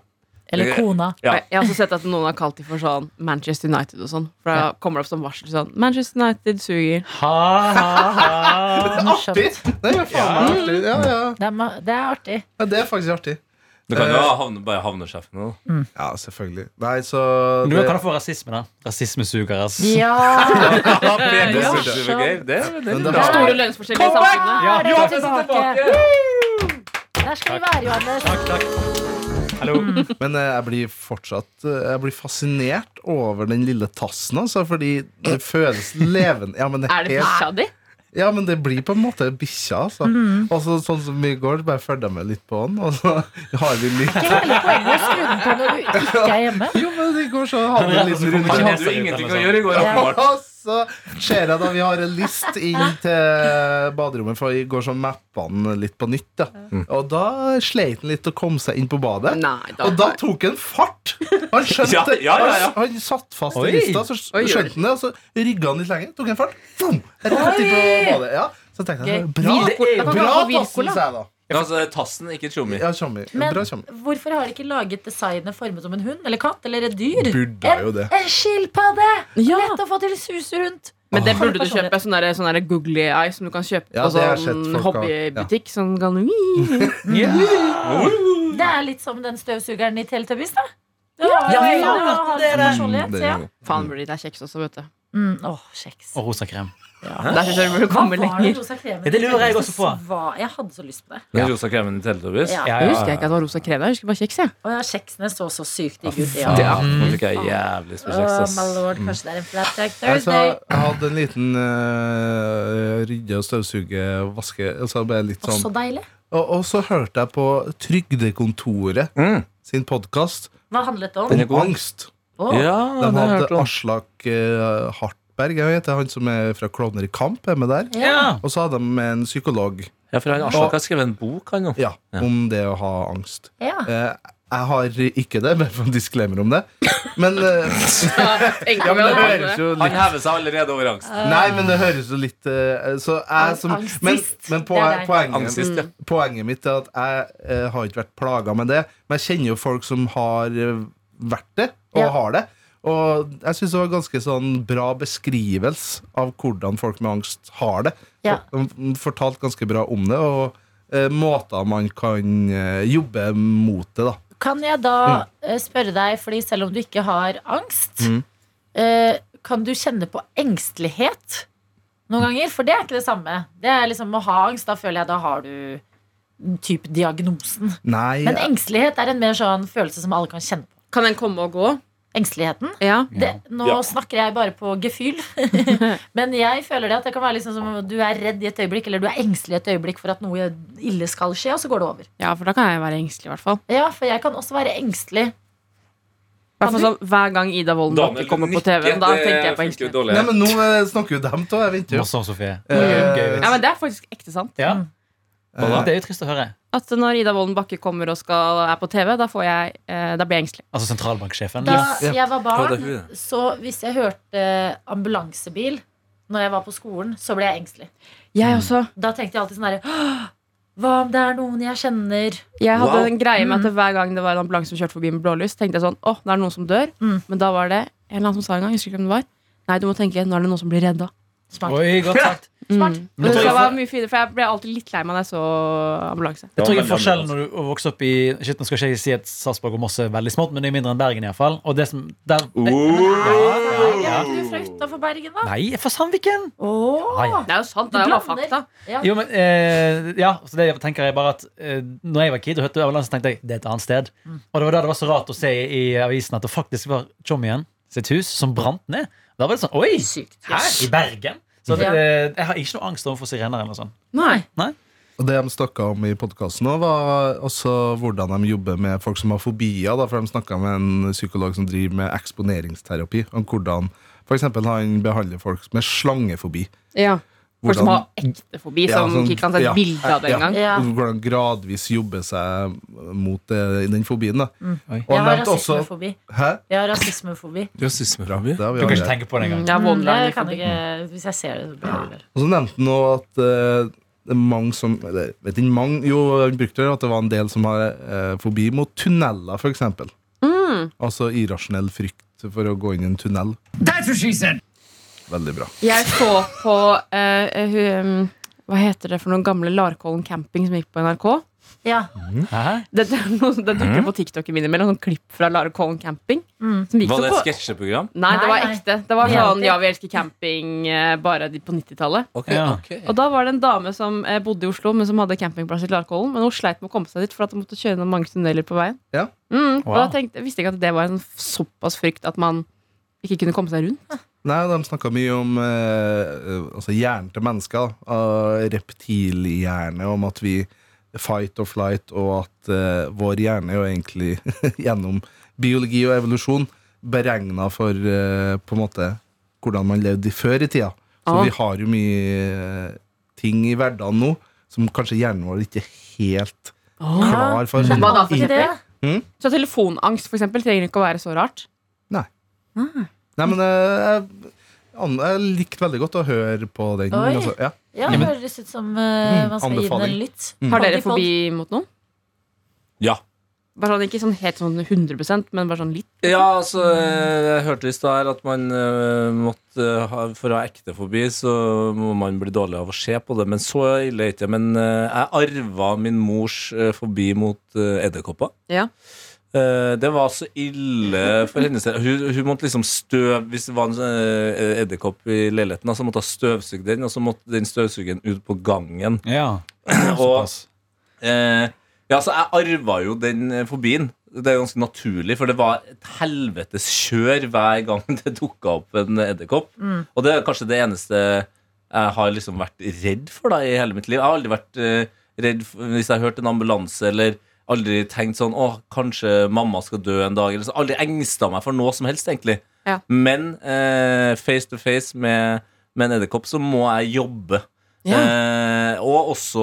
[SPEAKER 2] Eller kona.
[SPEAKER 6] Ja.
[SPEAKER 4] Jeg har også sett at noen har kalt dem for sånn Manchester United og sånn. For da kommer det opp som varsel sånn Manchester United suger.
[SPEAKER 5] Ha, ha, ha.
[SPEAKER 2] Morsomt.
[SPEAKER 7] Artig! Det er, faen meg artig. Ja, ja.
[SPEAKER 2] Det er, ma- det er artig.
[SPEAKER 7] ja, det er faktisk artig.
[SPEAKER 6] Du kan
[SPEAKER 7] Eh.
[SPEAKER 6] jo havne, bare havnesjefen. da.
[SPEAKER 7] Ja, selvfølgelig. Nei, så
[SPEAKER 5] Du
[SPEAKER 7] det,
[SPEAKER 5] kan kalle for rasisme, da. Rasismesuger, ass.
[SPEAKER 2] Ja!
[SPEAKER 6] Ja, Peter
[SPEAKER 2] Ja, skjønt.
[SPEAKER 6] Søstrene, Geir, det er- det er
[SPEAKER 7] Men det
[SPEAKER 6] bra.
[SPEAKER 7] var-
[SPEAKER 4] Store lønnsforskjeller i samfunnet.
[SPEAKER 5] Ja,
[SPEAKER 2] er det
[SPEAKER 5] ja,
[SPEAKER 2] tusen
[SPEAKER 5] det er
[SPEAKER 2] takk.
[SPEAKER 5] tilbake.
[SPEAKER 2] Der skal vi være, Johannes.
[SPEAKER 5] Takk, takk. Mm. Hallo.
[SPEAKER 7] Men eh, jeg blir fortsatt eh, Jeg blir fascinert over den lille tassen, altså, fordi det føles levende. Ja, men det,
[SPEAKER 4] Er
[SPEAKER 7] er
[SPEAKER 4] det
[SPEAKER 7] helt,
[SPEAKER 4] bikkja di?
[SPEAKER 7] ja, men det blir på en måte bikkja, altså.
[SPEAKER 4] Mhm.
[SPEAKER 7] Og så sånn som i går, bare følger jeg med litt på den, og så har vi litt
[SPEAKER 2] Det er veldig poenget å skru den på når du ikke er hjemme.
[SPEAKER 7] Jo, men i går så hadde vi en liten runde.
[SPEAKER 6] Han hadde jo ingenting å gjøre i går,
[SPEAKER 2] Ja.
[SPEAKER 6] åpenbart.
[SPEAKER 7] Og så ser jeg da vi har en list inn til baderommet, for i går så mappa han litt på nytt. Da.
[SPEAKER 6] Mm.
[SPEAKER 7] Og da sleit han litt å komme seg inn på badet.
[SPEAKER 4] Nei da.
[SPEAKER 7] Og da tok han fart! Han skjønte
[SPEAKER 6] Ja, ja, ja, ja.
[SPEAKER 7] Han, han satt fast
[SPEAKER 5] Oi.
[SPEAKER 7] i lista, så
[SPEAKER 4] Oi, oi.
[SPEAKER 7] skjønte han det, og så rygga han litt lenger. Tok en fart. Boom! Rett inn på badet. Ja. Så tenkte jeg
[SPEAKER 2] Gøy.
[SPEAKER 7] bra,
[SPEAKER 4] Hvilkor- Da kan vi
[SPEAKER 7] bra
[SPEAKER 4] ha Hvilkor,
[SPEAKER 7] tassen,
[SPEAKER 4] da.
[SPEAKER 7] sa jeg da.
[SPEAKER 6] Ja, altså, det er Tassen, ikke Tjommi.
[SPEAKER 7] Ja, tjommi.
[SPEAKER 2] Men
[SPEAKER 7] Bra tjommi.
[SPEAKER 2] hvorfor har de ikke laget designet formet som en hund eller katt eller et dyr?
[SPEAKER 7] Burde jo det.
[SPEAKER 2] En, en skilpadde!
[SPEAKER 4] Ja.
[SPEAKER 2] Lett å få til sus rundt.
[SPEAKER 4] Men det
[SPEAKER 2] Åh.
[SPEAKER 4] burde du kjøpe. Sånn der- sånn der googly eye som du kan kjøpe
[SPEAKER 7] Ah. Ja,
[SPEAKER 4] på
[SPEAKER 7] det har
[SPEAKER 4] sånn
[SPEAKER 7] jeg sett folk har.
[SPEAKER 4] hobbybutikk. Sånn kan
[SPEAKER 2] Det er litt som den støvsugeren i Teletubbies, da. Ja, ja, ja, det er personlighet,
[SPEAKER 7] Det-
[SPEAKER 2] ja.
[SPEAKER 4] Faen burde de deg kjeks også, vet du.
[SPEAKER 2] Mm, åh, kjeks.
[SPEAKER 5] Og rosa krem.
[SPEAKER 4] Der synes jeg du burde komme lenger.
[SPEAKER 5] Ja, det lurer jeg også på.
[SPEAKER 2] Jeg hadde så lyst på det.
[SPEAKER 6] Den rosa kremen i Teletubbies.
[SPEAKER 2] Ja.
[SPEAKER 5] Ja,
[SPEAKER 4] Jeg
[SPEAKER 5] ja,
[SPEAKER 4] husker ikke at det var rosa krem. Jeg husker bare kjeks. jeg
[SPEAKER 2] Og ja, kjeksene så så sykt digge ut.
[SPEAKER 6] Det
[SPEAKER 2] Ja.
[SPEAKER 7] Ah.
[SPEAKER 6] er, nå fikk jeg jævlig
[SPEAKER 2] Åh,
[SPEAKER 6] spesielt, ass.
[SPEAKER 2] my lord, kanskje det er en flatjack
[SPEAKER 7] Jeg, så,
[SPEAKER 2] Thursday.
[SPEAKER 7] jeg hadde en liten eh, rydde- og støvsugevaske altså bare litt
[SPEAKER 2] Å,
[SPEAKER 7] sånn.
[SPEAKER 2] så deilig.
[SPEAKER 7] og, og så hørte jeg på Trygdekontoret
[SPEAKER 6] Mm.
[SPEAKER 7] sin podkast
[SPEAKER 2] Hva handlet det om?
[SPEAKER 7] om angst.
[SPEAKER 2] Åh,
[SPEAKER 6] Ja,
[SPEAKER 7] De
[SPEAKER 6] det har jeg
[SPEAKER 7] hadde
[SPEAKER 6] hørt om.
[SPEAKER 7] Aslak eh, Hartberg, jeg heter han som er fra Klovner i kamp, er med der.
[SPEAKER 5] ja.
[SPEAKER 7] Og så hadde de med en psykolog
[SPEAKER 6] Ja, for han Aslak har skrevet en bok, han nå.
[SPEAKER 7] ja, om det å ha angst.
[SPEAKER 2] ja.
[SPEAKER 7] Eh, jeg har ikke det, bare for en disclaimer om det. Men, eh, ja, men det høres jo
[SPEAKER 6] Han
[SPEAKER 7] litt
[SPEAKER 6] hever seg allerede over angst.
[SPEAKER 4] Ah.
[SPEAKER 7] Nei, men det høres jo litt eh, Så jeg som
[SPEAKER 2] Angstist.
[SPEAKER 7] Men, men
[SPEAKER 2] Det er
[SPEAKER 7] poen,
[SPEAKER 2] deg.
[SPEAKER 7] poenget,
[SPEAKER 6] Angstist,
[SPEAKER 4] Mm.
[SPEAKER 6] ja.
[SPEAKER 7] poenget mitt er at jeg eh, har ikke vært plaga med det, men jeg kjenner jo folk som har eh, vært det, og
[SPEAKER 2] Ja.
[SPEAKER 7] har det. Og jeg syns det var ganske sånn bra beskrivelse av hvordan folk med angst har det.
[SPEAKER 2] Ja.
[SPEAKER 7] Og De fortalte ganske bra om det, og eh, måter man kan eh, jobbe mot det, da.
[SPEAKER 2] Kan jeg da eh, spørre deg, fordi selv om du ikke har angst, eh, kan du kjenne på engstelighet noen ganger? For det er ikke det samme. Det er liksom å ha angst, da føler jeg da har du typ diagnosen.
[SPEAKER 7] Nei,
[SPEAKER 2] Men engstelighet er en mer sånn følelse som alle kan kjenne på.
[SPEAKER 4] Kan den komme og gå?
[SPEAKER 2] Engsteligheten.
[SPEAKER 4] Ja.
[SPEAKER 2] Det, nå snakker jeg bare på gefühl. Men jeg føler det at det kan være liksom som om du er redd i et øyeblikk, eller du er engstelig i et øyeblikk for at noe ille skal skje, og så går det over.
[SPEAKER 4] ja, for da kan jeg være engstelig, i hvert fall.
[SPEAKER 2] Ja, for jeg kan også være engstelig.
[SPEAKER 4] Hvert fall sånn, hver gang Ida Wolden Bakke kommer på TV, da tenker jeg på engstelighet.
[SPEAKER 6] dårlig.
[SPEAKER 7] Nei, men nå eh, snakker jo dem to, jeg venter jo.
[SPEAKER 5] Morsom, Sofie.
[SPEAKER 7] Eh,
[SPEAKER 5] Gøy
[SPEAKER 4] Ja,
[SPEAKER 5] vits.
[SPEAKER 4] men Det er faktisk ekte sant.
[SPEAKER 5] Ja.
[SPEAKER 2] Mm.
[SPEAKER 7] eh,
[SPEAKER 5] Det er jo trist å høre.
[SPEAKER 4] At når Ida Wolden Bakke kommer og skal, er på TV, da, får jeg, eh, da blir jeg engstelig.
[SPEAKER 5] Altså sentralbanksjefen.
[SPEAKER 2] Da
[SPEAKER 7] Ja.
[SPEAKER 2] jeg var
[SPEAKER 6] Ja, det
[SPEAKER 2] barn,
[SPEAKER 6] er hun,
[SPEAKER 2] så hvis jeg hørte ambulansebil når jeg var på skolen, så ble jeg engstelig.
[SPEAKER 4] Jeg også.
[SPEAKER 2] Da tenkte jeg alltid sånn herre Hva om det er noen jeg kjenner?
[SPEAKER 4] Jeg hadde
[SPEAKER 6] Wow.
[SPEAKER 4] en greie med at Hver gang det var en ambulanse som kjørte forbi med blålys, tenkte jeg sånn Å, det er noen som dør.
[SPEAKER 2] Mm.
[SPEAKER 4] Men da var det en eller annen som sa en gang, jeg husker ikke hvem det var. Nei, du må tenke, nå er det noen som blir redda.
[SPEAKER 2] Smart.
[SPEAKER 5] Oi, godt sagt.
[SPEAKER 4] Smart.
[SPEAKER 5] Men
[SPEAKER 4] Det
[SPEAKER 5] jeg tror jeg-
[SPEAKER 4] var mye finere, for jeg ble alltid litt lei meg da jeg så ambulanse.
[SPEAKER 5] Jeg
[SPEAKER 6] Ja,
[SPEAKER 5] tror jeg
[SPEAKER 6] veldig
[SPEAKER 5] forskjellen når du vokser opp i Shit, nå skal ikke jeg si at Sarpsborg og Moss er veldig smått, men det er mindre enn Bergen iallfall. Og det som der,
[SPEAKER 2] Ja, er ikke du fra utafor Bergen, da?
[SPEAKER 5] Nei, for Sandviken!
[SPEAKER 2] Åh,
[SPEAKER 5] Nei.
[SPEAKER 4] Det er jo sant,
[SPEAKER 2] Du
[SPEAKER 4] det er jo bare
[SPEAKER 2] blander.
[SPEAKER 4] fakta.
[SPEAKER 2] Ja.
[SPEAKER 5] Jo, men eh, Ja, så det tenker jeg bare at eh, Når jeg var kid og hørte ambulansen, tenkte jeg det er et annet sted.
[SPEAKER 2] Mm.
[SPEAKER 5] Og det var da det var så rart å se i, i avisen at det faktisk var Tjommien sitt hus som brant ned. Da var det sånn Oi!
[SPEAKER 2] Sykt.
[SPEAKER 5] Hæ? I Bergen? Så det,
[SPEAKER 2] Ja.
[SPEAKER 5] eh, jeg har ikke noe angst overfor sirener eller noe sånt.
[SPEAKER 4] Nei.
[SPEAKER 7] Og det de snakka om i podkasten òg, var også hvordan de jobber med folk som har fobier. Da, for de snakka med en psykolog som driver med eksponeringsterapi. Om hvordan f.eks. han behandler folk med slangefobi.
[SPEAKER 4] Ja. Folk som
[SPEAKER 7] Hvordan-
[SPEAKER 4] har ekte fobi,
[SPEAKER 7] Ja,
[SPEAKER 4] som
[SPEAKER 7] sånn-
[SPEAKER 4] ikke kan ta et
[SPEAKER 7] ja,
[SPEAKER 4] bilde av det
[SPEAKER 7] ja.
[SPEAKER 4] engang.
[SPEAKER 2] Ja.
[SPEAKER 7] Hvordan gradvis jobbe seg mot eh, den fobien. da
[SPEAKER 4] Mm.
[SPEAKER 5] Oi.
[SPEAKER 7] Og
[SPEAKER 2] Jeg
[SPEAKER 7] han
[SPEAKER 2] har
[SPEAKER 7] nevnte også
[SPEAKER 2] rasismefobi.
[SPEAKER 7] Hæ?
[SPEAKER 2] Jeg har rasismefobi.
[SPEAKER 6] Rasismerabi.
[SPEAKER 5] Du
[SPEAKER 7] Det har vi
[SPEAKER 5] kan
[SPEAKER 7] allerede.
[SPEAKER 5] ikke tenke på det engang.
[SPEAKER 4] Ja,
[SPEAKER 2] Mm, det kan
[SPEAKER 4] borderline-fobi.
[SPEAKER 2] jeg ikke Hvis jeg ser det, så blir det vel.
[SPEAKER 7] Og så nevnte han også at eh, det er mange som eller, vet ikke, mange, Jo, han brukte det at det var en del som har eh, fobi mot tunneler, f.eks.
[SPEAKER 4] Mm.
[SPEAKER 7] Altså irrasjonell frykt for å gå inn i en tunnel. Veldig bra.
[SPEAKER 4] Jeg så på eh, hun- Hva heter det for noen gamle Larkollen camping som gikk på NRK?
[SPEAKER 2] Ja.
[SPEAKER 5] Hæ?
[SPEAKER 4] Det, det, er noe- det dukker på TikTok i mine mellom sånn klipp fra Larkollen camping.
[SPEAKER 2] Mm.
[SPEAKER 4] Som gikk
[SPEAKER 6] Var det
[SPEAKER 4] så
[SPEAKER 6] et
[SPEAKER 4] på
[SPEAKER 6] sketsjeprogram?
[SPEAKER 4] Nei, det
[SPEAKER 2] Nei,
[SPEAKER 4] var
[SPEAKER 2] nei.
[SPEAKER 4] ekte. Det var
[SPEAKER 2] Ja.
[SPEAKER 4] sånn Ja, vi elsker camping, eh, bare de på 90-tallet.
[SPEAKER 6] Ok,
[SPEAKER 5] Ja.
[SPEAKER 6] ok.
[SPEAKER 4] Og da var det en dame som eh, bodde i Oslo, men som hadde campingplass i Larkollen. Men hun sleit med å komme seg dit, for at hun måtte kjøre gjennom mange tunneler på veien.
[SPEAKER 7] Ja.
[SPEAKER 4] Mm, Og da
[SPEAKER 5] Wow.
[SPEAKER 4] tenkte, jeg visste ikke at det var en såpass frykt at man ikke kunne komme seg rundt.
[SPEAKER 7] Nei, De snakka mye om eh, altså hjernen til mennesker. da. Uh, reptilhjerne, om at vi fight or flight, og at eh, vår hjerne er jo egentlig gjennom biologi og evolusjon beregna for eh, på en måte hvordan man levde i før i tida. Så
[SPEAKER 4] Ah.
[SPEAKER 7] vi har jo mye eh, ting i hverdagen nå som kanskje hjernen vår ikke er helt klar for.
[SPEAKER 4] Hva da, for
[SPEAKER 2] Ikke
[SPEAKER 4] eksempel?
[SPEAKER 2] det?
[SPEAKER 4] Så telefonangst for eksempel, trenger ikke å være så rart.
[SPEAKER 7] Nei, men eh, jeg, an- jeg likte veldig godt å høre på den.
[SPEAKER 2] Oi.
[SPEAKER 7] Altså, ja.
[SPEAKER 2] Ja, det høres ut som eh, man skal gi den
[SPEAKER 7] anbefaling.
[SPEAKER 2] en lytt.
[SPEAKER 4] Har dere
[SPEAKER 2] Poddy, poddy.
[SPEAKER 4] fobi mot noen?
[SPEAKER 6] Ja.
[SPEAKER 4] Bare sånn, ikke sånn helt sånn 100 men bare sånn litt.
[SPEAKER 6] Ja, altså, eh, jeg hørte i stad her at man eh, måtte eh, ha, For å ha ekte fobi, så må man bli dårlig av å se på det. Men så ille er det ikke. Men eh, jeg arva min mors eh, fobi mot eh, edderkopper.
[SPEAKER 4] Ja.
[SPEAKER 6] Eh, Det var så ille for hennes del. Hun, hun måtte liksom støv Hvis det var en eh, edderkopp i leiligheten, da, så måtte hun støvsuge den, og så måtte den støvsugeren ut på gangen.
[SPEAKER 5] Ja.
[SPEAKER 6] Og
[SPEAKER 5] Såpass.
[SPEAKER 6] Eh, ja, så jeg arva jo den eh, fobien. Det er ganske naturlig, for det var et helvetes kjør hver gang det dukka opp en edderkopp. Og det er kanskje det eneste jeg har liksom vært redd for da i hele mitt liv. Jeg har aldri vært eh, redd for, hvis jeg har hørt en ambulanse eller aldri tenkt sånn Å, kanskje mamma skal dø en dag. Eller så aldri engsta meg for noe som helst, egentlig.
[SPEAKER 4] Ja.
[SPEAKER 6] Men eh, face to face med, med en edderkopp, så må jeg jobbe. Eh, og, også,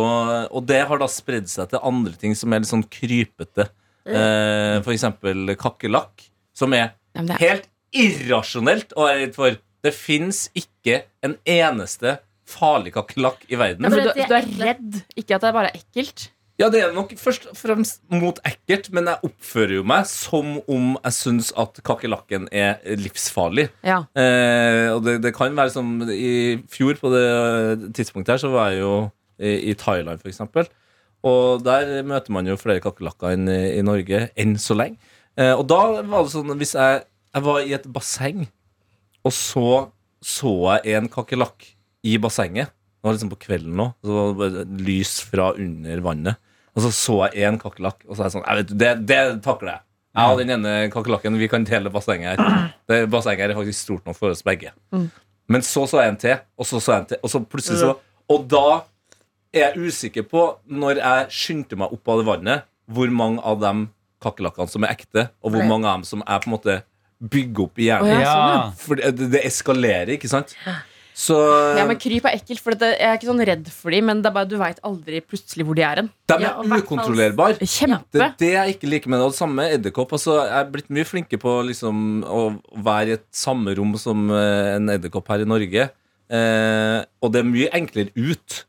[SPEAKER 6] og det har da spredd seg til andre ting som er litt sånn krypete. Eh, for eksempel kakerlakk, som er
[SPEAKER 4] Ja, men det er,
[SPEAKER 6] helt irrasjonelt å være redd for. Det fins ikke en eneste farlig kakerlakk i
[SPEAKER 4] ja,
[SPEAKER 6] verden.
[SPEAKER 4] men
[SPEAKER 2] for
[SPEAKER 4] du,
[SPEAKER 2] det er
[SPEAKER 4] du er
[SPEAKER 2] ekkelt.
[SPEAKER 4] redd, ikke at det bare er ekkelt.
[SPEAKER 6] Ja, det er nok først og fremst mot ekkelt, men jeg oppfører jo meg som om jeg syns at kakerlakken er livsfarlig.
[SPEAKER 4] Ja.
[SPEAKER 6] Eh, og det, det kan være som I fjor på det tidspunktet her Så var jeg jo i, i Thailand for eksempel Og der møter man jo flere kakelakker enn i, i Norge Enn så lenge eh, Og da var det sånn Hvis jeg, jeg var i et basseng Og så så jeg en kakelakk I bassenget Det var liksom på kvelden nå Så var det bare lys fra under vannet Og så så jeg en kakelakk Og så er jeg sånn, jeg vet, det, det takler jeg jeg og den ene kakelakken, vi kan dele bassenget her. Det Bassenget her er faktisk stort nok for oss begge. Men så så jeg en til, og så så jeg en til, og så plutselig så Og da er jeg usikker på, når jeg skyndte meg opp av det vannet, hvor mange av de kakerlakkene som er ekte, og hvor mange av dem som jeg på en måte bygger opp i hjernen.
[SPEAKER 4] Å,
[SPEAKER 5] Ja.
[SPEAKER 6] For det, det eskalerer, ikke sant? Så
[SPEAKER 4] Ja, men Kryp er ekkelt, for det, jeg er ikke sånn redd for dem, men det er bare, du veit aldri plutselig hvor de er hen.
[SPEAKER 6] de
[SPEAKER 2] Ja, og
[SPEAKER 6] er
[SPEAKER 2] hvert fall-
[SPEAKER 6] ukontrollerbare. Det
[SPEAKER 4] Kjempe!
[SPEAKER 6] er det jeg ikke liker med det. Og det samme med edderkopp. Altså, jeg er blitt mye flinkere på liksom, å være i et samme rom som eh, en edderkopp her i Norge. Eh, og det er mye enklere ut.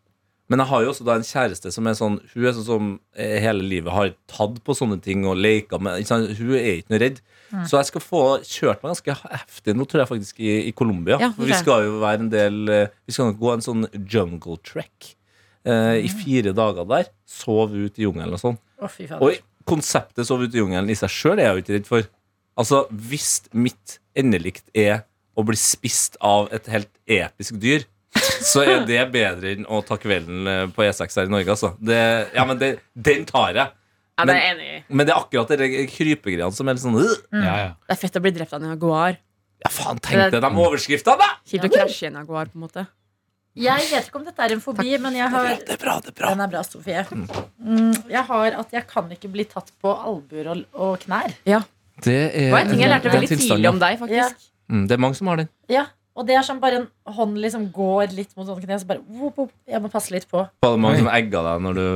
[SPEAKER 6] Men jeg har jo også da en kjæreste som er sånn Hun er sånn som eh, hele livet har tatt på sånne ting og leka med ikke sant? Hun er ikke noe redd. Så jeg skal få kjørt meg ganske heftig nå, tror jeg faktisk, i, i Colombia.
[SPEAKER 4] Ja, det
[SPEAKER 6] For
[SPEAKER 4] tror
[SPEAKER 6] vi
[SPEAKER 4] jeg.
[SPEAKER 6] skal jo være en del eh, Vi skal nok gå en sånn jungle trek eh, i fire dager der. Sove ut i jungelen og sånn.
[SPEAKER 2] Å, fy faen.
[SPEAKER 6] Og konseptet sove ute i jungelen i seg sjøl er jeg jo ikke redd for. Altså, Hvis mitt endelikt er å bli spist av et helt episk dyr, så er det bedre enn å ta kvelden eh, på E6 her i Norge, altså. Det, ja, men det, den tar jeg.
[SPEAKER 4] Ja, det er
[SPEAKER 6] Men-
[SPEAKER 4] jeg enig i.
[SPEAKER 6] Men det er akkurat de krypegreiene som er litt sånn «Ugh!»
[SPEAKER 5] Ja, ja.
[SPEAKER 4] Det er fett å bli drept av en jaguar.
[SPEAKER 6] Ja, faen, tenk deg de overskriftene, da!
[SPEAKER 4] Kjipt å krasje i en jaguar, på en måte.
[SPEAKER 2] Jeg vet ikke om dette er en fobi, men jeg har
[SPEAKER 6] Det er bra, det er bra.
[SPEAKER 2] Den er bra, Sofie. Mm, jeg har at jeg kan ikke bli tatt på albuer og, og knær.
[SPEAKER 6] Det er,
[SPEAKER 4] Det var en ting jeg lærte
[SPEAKER 6] den
[SPEAKER 4] veldig tidlig
[SPEAKER 6] tilstanden,
[SPEAKER 4] om deg,
[SPEAKER 2] Ja.
[SPEAKER 4] faktisk.
[SPEAKER 6] ja. Mm, Det er mange som har den.
[SPEAKER 2] Ja, Og det er sånn bare en hånd liksom går litt mot sånn kne, så bare whoop, whoop, Jeg må passe litt på.
[SPEAKER 6] Var det mange som egga deg når du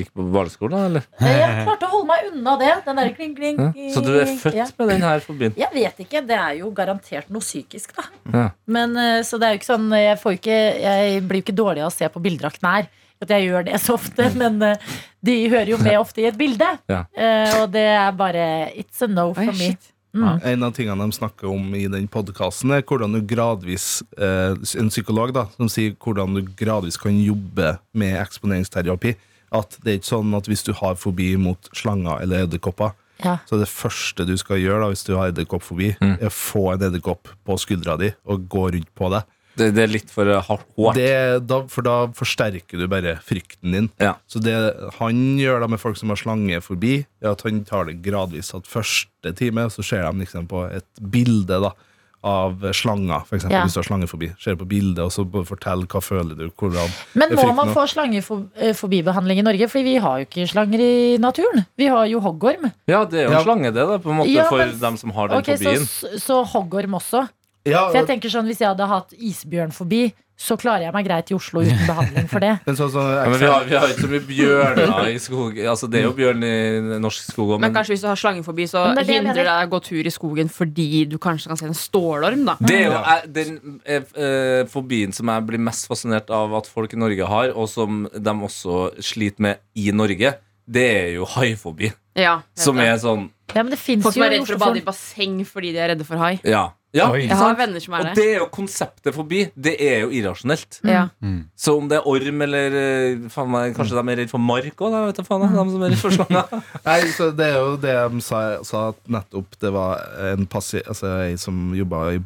[SPEAKER 6] gikk på barneskolen? da, Eller?
[SPEAKER 2] Eh, Jeg klarte å holde meg unna det. Den der kling, kling.
[SPEAKER 6] Ja. Så du er født
[SPEAKER 2] Ja.
[SPEAKER 6] med den her forbindt?
[SPEAKER 2] Jeg vet ikke. Det er jo garantert noe psykisk, da.
[SPEAKER 6] Ja.
[SPEAKER 2] Men, eh, så det er jo ikke sånn Jeg, får jo ikke, jeg blir jo ikke dårlig av å se på bilder av knær. At jeg gjør det så ofte, men eh, de hører jo med ofte i et bilde.
[SPEAKER 6] Mm. Ja.
[SPEAKER 2] Eh, Og det er bare It's a no
[SPEAKER 4] Oi,
[SPEAKER 2] for me.
[SPEAKER 4] shit.
[SPEAKER 7] En av tingene de snakker om i den podkasten, er hvordan du gradvis eh, En psykolog da, som sier hvordan du gradvis kan jobbe med eksponeringsterapi. At det er ikke sånn at hvis du har fobi mot slanger eller edderkopper,
[SPEAKER 2] Ja.
[SPEAKER 7] så det første du skal gjøre da, hvis du har edderkoppfobi, er å få en edderkopp på skuldra di og gå rundt på deg.
[SPEAKER 6] Det, det er litt for eh, hardt. hårt.
[SPEAKER 7] Det, da, for da forsterker du bare frykten din.
[SPEAKER 6] Ja.
[SPEAKER 7] Så det han gjør da med folk som har slange forbi, er at han tar det gradvis at første time, så ser de liksom på et bilde da av slanger, for eksempel,
[SPEAKER 2] Ja.
[SPEAKER 7] hvis du har slange forbi. Ser på bildet, og så bare fortell hva føler du, hvordan
[SPEAKER 2] Men må
[SPEAKER 7] frykten
[SPEAKER 2] man
[SPEAKER 7] nå.
[SPEAKER 2] få slangefobibehandling i Norge? Fordi vi har jo ikke slanger i naturen. Vi har jo hoggorm.
[SPEAKER 6] Ja, det er jo
[SPEAKER 7] Ja.
[SPEAKER 6] en slange, det, da, på en måte,
[SPEAKER 2] Ja,
[SPEAKER 6] for
[SPEAKER 2] men-
[SPEAKER 6] dem som har den
[SPEAKER 2] Ok, så,
[SPEAKER 6] fobien.
[SPEAKER 2] så hoggorm også.
[SPEAKER 7] Ja,
[SPEAKER 2] For jeg tenker sånn, Hvis jeg hadde hatt isbjørnfobi, så klarer jeg meg greit i Oslo uten behandling for det.
[SPEAKER 7] men sånn,
[SPEAKER 6] Ja,
[SPEAKER 7] sånn,
[SPEAKER 6] men vi har, vi har ikke så mye bjørner i skog Altså, det er
[SPEAKER 7] Mm.
[SPEAKER 6] jo bjørn i norsk skog òg,
[SPEAKER 4] Men
[SPEAKER 6] men
[SPEAKER 4] kanskje hvis du har slangefobi, så
[SPEAKER 2] Men det er det jeg
[SPEAKER 4] hindrer
[SPEAKER 2] mener.
[SPEAKER 4] deg å gå tur i skogen fordi du kanskje kan se en stålorm, da.
[SPEAKER 6] det er jo eh, den eh, eh, fobien som jeg blir mest fascinert av at folk i Norge har, og som de også sliter med i Norge. Det er jo haifobi,
[SPEAKER 4] Ja, jeg
[SPEAKER 6] som
[SPEAKER 4] vet det.
[SPEAKER 6] er sånn
[SPEAKER 2] Ja, men det finnes
[SPEAKER 4] Folk som
[SPEAKER 2] jo
[SPEAKER 4] er
[SPEAKER 2] i
[SPEAKER 4] redd for sånn- å bade i
[SPEAKER 2] Oslofjorden.
[SPEAKER 4] basseng fordi de er redde for hai.
[SPEAKER 6] Ja. ja
[SPEAKER 5] Oi.
[SPEAKER 6] ikke
[SPEAKER 4] Jeg har
[SPEAKER 6] sant?
[SPEAKER 4] venner som
[SPEAKER 6] Og
[SPEAKER 4] er det.
[SPEAKER 6] det er jo konseptet forbi. Det er jo irrasjonelt.
[SPEAKER 4] Ja.
[SPEAKER 6] Så om det er orm eller eh, faen meg, Kanskje de er redd for mark òg, vet du faen. jeg, De som er redd for slanger.
[SPEAKER 7] Nei, så Det er jo det de sa, sa at nettopp det var en passi... Altså ei som jobba i,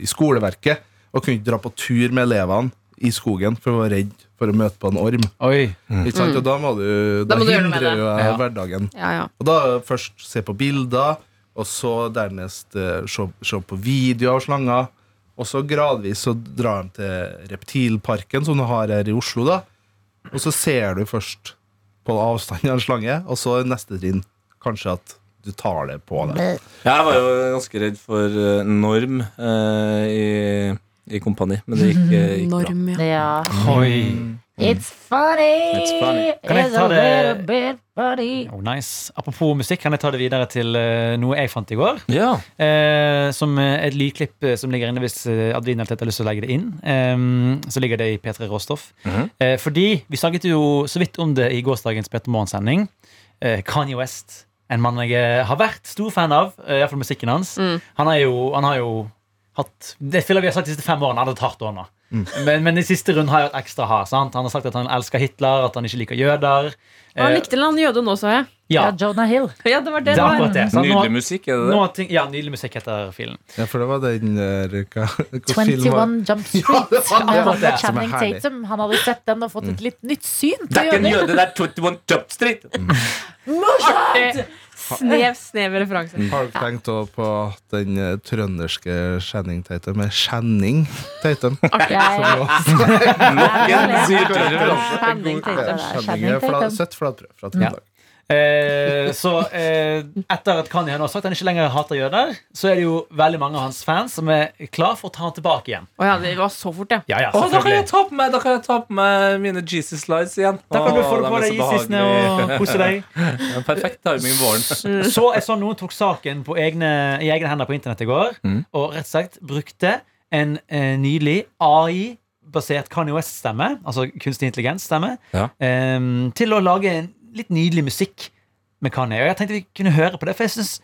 [SPEAKER 7] i skoleverket, og kunne ikke dra på tur med elevene i skogen, for hun var redd for å møte på en orm.
[SPEAKER 5] Oi.
[SPEAKER 7] Ikke sant? Og da må du
[SPEAKER 4] Mm. Da
[SPEAKER 7] Da,
[SPEAKER 4] må du gjøre noe med
[SPEAKER 7] hindrer
[SPEAKER 4] det.
[SPEAKER 7] jo jeg
[SPEAKER 5] Ja.
[SPEAKER 7] hverdagen.
[SPEAKER 4] Ja, ja.
[SPEAKER 7] Og da først se på bilder, og så dernest eh, se, se på videoer av slanger. Og så gradvis så drar de til Reptilparken, som du har her i Oslo. da Og så ser du først på avstand av en slange, og så neste trinn kanskje at du tar det på deg.
[SPEAKER 6] Jeg var jo ganske redd for eh, norm eh, i, i kompani, men det gikk, eh, gikk bra.
[SPEAKER 4] Norm, ja.
[SPEAKER 2] Ja.
[SPEAKER 5] Oi.
[SPEAKER 2] It's funny.
[SPEAKER 6] It's funny.
[SPEAKER 5] Kan jeg
[SPEAKER 2] It's
[SPEAKER 5] ta
[SPEAKER 2] a
[SPEAKER 5] det-
[SPEAKER 2] little bit funny.
[SPEAKER 5] Oh, nice. Apropos musikk, kan jeg ta det videre til eh, noe jeg fant i går.
[SPEAKER 6] Ja.
[SPEAKER 5] Eh, som eh, et lydklipp eh, som ligger inne hvis eh, Adelina Tete har lyst til å legge det inn. Eh, så ligger det i P3 Råstoff.
[SPEAKER 6] Mhm.
[SPEAKER 5] eh, fordi vi snakket jo så vidt om det i gårsdagens P3 Morgen-sending. Eh, Kanye West, en mann jeg eh, har vært stor fan av, eh, i hvert fall musikken hans.
[SPEAKER 4] Mm.
[SPEAKER 5] Han, er jo, han har jo hatt Det føler jeg vi har sagt de siste fem årene. Han har hatt hardt år nå.
[SPEAKER 6] Mm.
[SPEAKER 5] Men, men i siste runde har jeg hatt ekstra hard. Sant? Han har sagt at han elsker Hitler, at han ikke liker jøder.
[SPEAKER 4] Han
[SPEAKER 5] Eh,
[SPEAKER 4] likte en eller annen jøde nå, så jeg.
[SPEAKER 5] ja,
[SPEAKER 2] Ja, Jonah Hill.
[SPEAKER 4] Ja, det var det
[SPEAKER 5] det
[SPEAKER 4] det
[SPEAKER 5] er
[SPEAKER 4] var.
[SPEAKER 5] akkurat det. sant? Nå-
[SPEAKER 6] Nydelig musikk, er det det?
[SPEAKER 5] nå har ting- ja, nydelig musikk heter filen.
[SPEAKER 7] Ja, for det var den der hva, hva film var-
[SPEAKER 2] 21 Jump Street.
[SPEAKER 7] det var
[SPEAKER 2] med
[SPEAKER 5] akkurat
[SPEAKER 2] Amanda
[SPEAKER 5] det
[SPEAKER 7] som er
[SPEAKER 2] Channing
[SPEAKER 7] herlig.
[SPEAKER 2] Tatum. Han hadde sett den og fått et litt nytt syn
[SPEAKER 6] Det
[SPEAKER 2] på
[SPEAKER 6] er ikke en
[SPEAKER 2] jøder.
[SPEAKER 6] jøde, det er 21 Jump Street!
[SPEAKER 4] Eh, Snev, snev referanse.
[SPEAKER 7] Har dere tenkt også på den eh, trønderske Channing Tatum? Med Channing Tatum.
[SPEAKER 2] Jeg-
[SPEAKER 6] Igjen, sier du.
[SPEAKER 2] Channing Tatum.
[SPEAKER 7] Channing
[SPEAKER 2] Channing
[SPEAKER 7] er fla-
[SPEAKER 2] Tatum.
[SPEAKER 7] søtt flatbrød fra Trøndelag.
[SPEAKER 5] Eh, så eh, etter at Kanye nå har sagt at han ikke lenger hater jøder, så er det jo veldig mange av hans fans som er klar for å ta han tilbake igjen.
[SPEAKER 4] Å ja, det var så fort, ja.
[SPEAKER 5] Ja, ja,
[SPEAKER 6] Å, da kan jeg
[SPEAKER 5] selvfølgelig.
[SPEAKER 6] ta på meg, da kan jeg ta på meg mine Jesus slides igjen.
[SPEAKER 5] Da kan du få
[SPEAKER 6] Å,
[SPEAKER 5] det på
[SPEAKER 6] de er
[SPEAKER 5] deg
[SPEAKER 6] så
[SPEAKER 5] isisene og
[SPEAKER 6] behagelige.
[SPEAKER 5] kose deg.
[SPEAKER 6] Ja, Perfekt timing våren.
[SPEAKER 5] Så jeg så noen tok saken på egne, i egne hender på internett i går,
[SPEAKER 6] Mm.
[SPEAKER 5] og rett og slett brukte en eh, nylig AI-basert Kanye West-stemme, altså kunstig intelligens-stemme,
[SPEAKER 6] Ja.
[SPEAKER 5] eh, til å lage en litt nydelig musikk med Kanye. Og jeg tenkte vi kunne høre på det, for jeg syns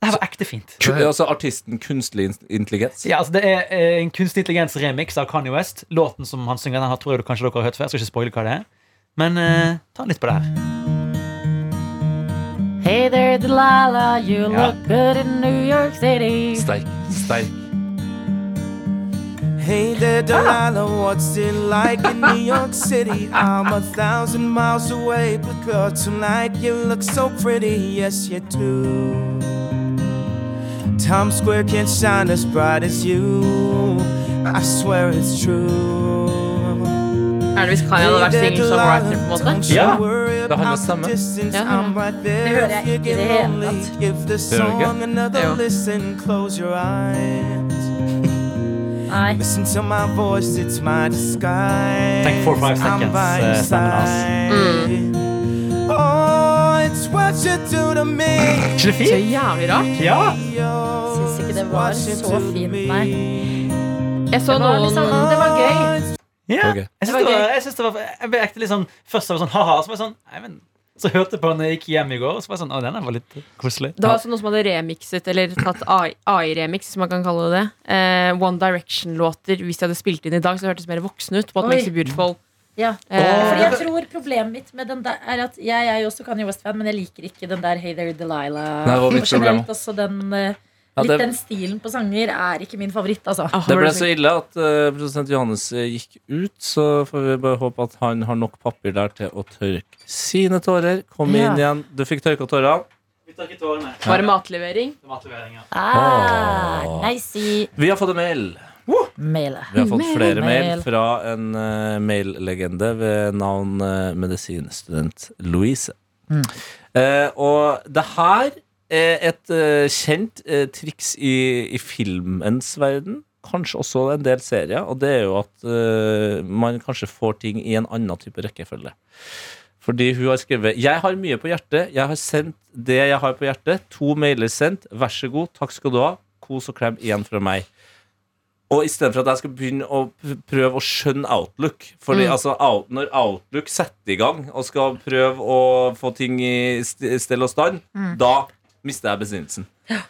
[SPEAKER 5] det her var ekte fint.
[SPEAKER 6] Ku- Altså artisten kunstlig in- intelligens.
[SPEAKER 5] Ja, altså Det er eh, en kunstig intelligens-remix av Kanye West. Låten som han synger, den her tror jeg du kanskje dere har hørt før. Jeg skal ikke spoile hva det er. Men eh, ta litt på det her.
[SPEAKER 2] Hey there, Delilah. You
[SPEAKER 5] Ja.
[SPEAKER 2] look good in New York City.
[SPEAKER 6] Sterk. Sterk.
[SPEAKER 9] Hey there, Delilah, what's it like in New York City? I'm a thousand miles away, but girl, tonight you look so pretty, yes you do. Times Square can't shine as bright as you. I swear it's true.
[SPEAKER 4] Er det hvis Kanye hadde vært singer-songwriter, på en
[SPEAKER 8] sånn
[SPEAKER 4] måte?
[SPEAKER 5] Ja,
[SPEAKER 6] det handler samme.
[SPEAKER 4] Ja, det handler.
[SPEAKER 9] Det
[SPEAKER 2] hører jeg ikke i det hele tatt.
[SPEAKER 9] Give the
[SPEAKER 6] hører du ikke?
[SPEAKER 9] song another
[SPEAKER 4] Jo.
[SPEAKER 9] listen, close your eyes.
[SPEAKER 2] Nei.
[SPEAKER 9] Listen to my voice, it's my disguise.
[SPEAKER 5] Tenk 4-5 seconds, eh, stemmen hans.
[SPEAKER 9] Mm. Oh, it's what you do to me.
[SPEAKER 5] Ikke det
[SPEAKER 4] Så
[SPEAKER 5] fint?
[SPEAKER 4] jævlig rart.
[SPEAKER 5] Ja!
[SPEAKER 2] Syns ikke det var så fint, nei.
[SPEAKER 4] Jeg så
[SPEAKER 2] Det var, liksom,
[SPEAKER 4] noen
[SPEAKER 2] det var gøy.
[SPEAKER 5] ja.
[SPEAKER 6] Ok.
[SPEAKER 5] Jeg, synes det var, jeg, synes det var, jeg ble ekte litt sånn Først så var jeg sånn ha-ha, så var jeg sånn Nei, men Så hørte jeg på den da jeg gikk hjem i går, og så var jeg sånn Å, den her var litt koselig.
[SPEAKER 4] Det var også noen som hadde remixet, eller tatt AI-remix, som man kan kalle det. Eh, One Direction-låter. Hvis de hadde spilt inn i dag, så hørtes det mer voksne ut. What
[SPEAKER 2] Oi.
[SPEAKER 4] makes you beautiful
[SPEAKER 2] Ja.
[SPEAKER 4] Eh,
[SPEAKER 2] Fordi jeg tror problemet mitt med den der er at jeg er jo også Kanye West-fan, men jeg liker ikke den der Hey There Delilah.
[SPEAKER 6] Nei, det var mitt
[SPEAKER 2] og
[SPEAKER 6] problem.
[SPEAKER 2] generelt også den eh,
[SPEAKER 6] Ja,
[SPEAKER 2] Litt
[SPEAKER 6] det-
[SPEAKER 2] den stilen på sanger er ikke min favoritt, altså.
[SPEAKER 4] Ah,
[SPEAKER 6] Det
[SPEAKER 4] var
[SPEAKER 6] ble
[SPEAKER 4] det
[SPEAKER 6] så ille at eh, produsent Johannes eh, gikk ut, så får vi bare håpe at han har nok papir der til å tørke sine tårer. Kom
[SPEAKER 2] Ja.
[SPEAKER 6] inn igjen. Du fikk tørka tårene.
[SPEAKER 5] Vi tar ikke tårene.
[SPEAKER 4] Var det matlevering?
[SPEAKER 5] Det var matlevering, ja.
[SPEAKER 2] Ah, nice
[SPEAKER 6] Vi har fått en mail.
[SPEAKER 2] mailet.
[SPEAKER 6] Vi har fått flere mail,
[SPEAKER 2] Mail.
[SPEAKER 6] fra en eh, maillegende ved navn eh, medisinstudent Louise. Eh, og det her er et eh, kjent eh, triks i, i filmens verden. Kanskje også en del serier, og det er jo at eh, man kanskje får ting i en annen type rekkefølge. Fordi hun har skrevet Jeg har mye på hjertet. Jeg har sendt det jeg har på hjertet. To mailer sendt. Vær så god. Takk skal du ha. Kos og klem igjen fra meg. Og istedenfor at jeg skal begynne å pr- prøve å skjønne Outlook Fordi altså, out, Når Outlook setter i gang og skal prøve å få ting i st- stell og stand, da mister jeg besinnelsen.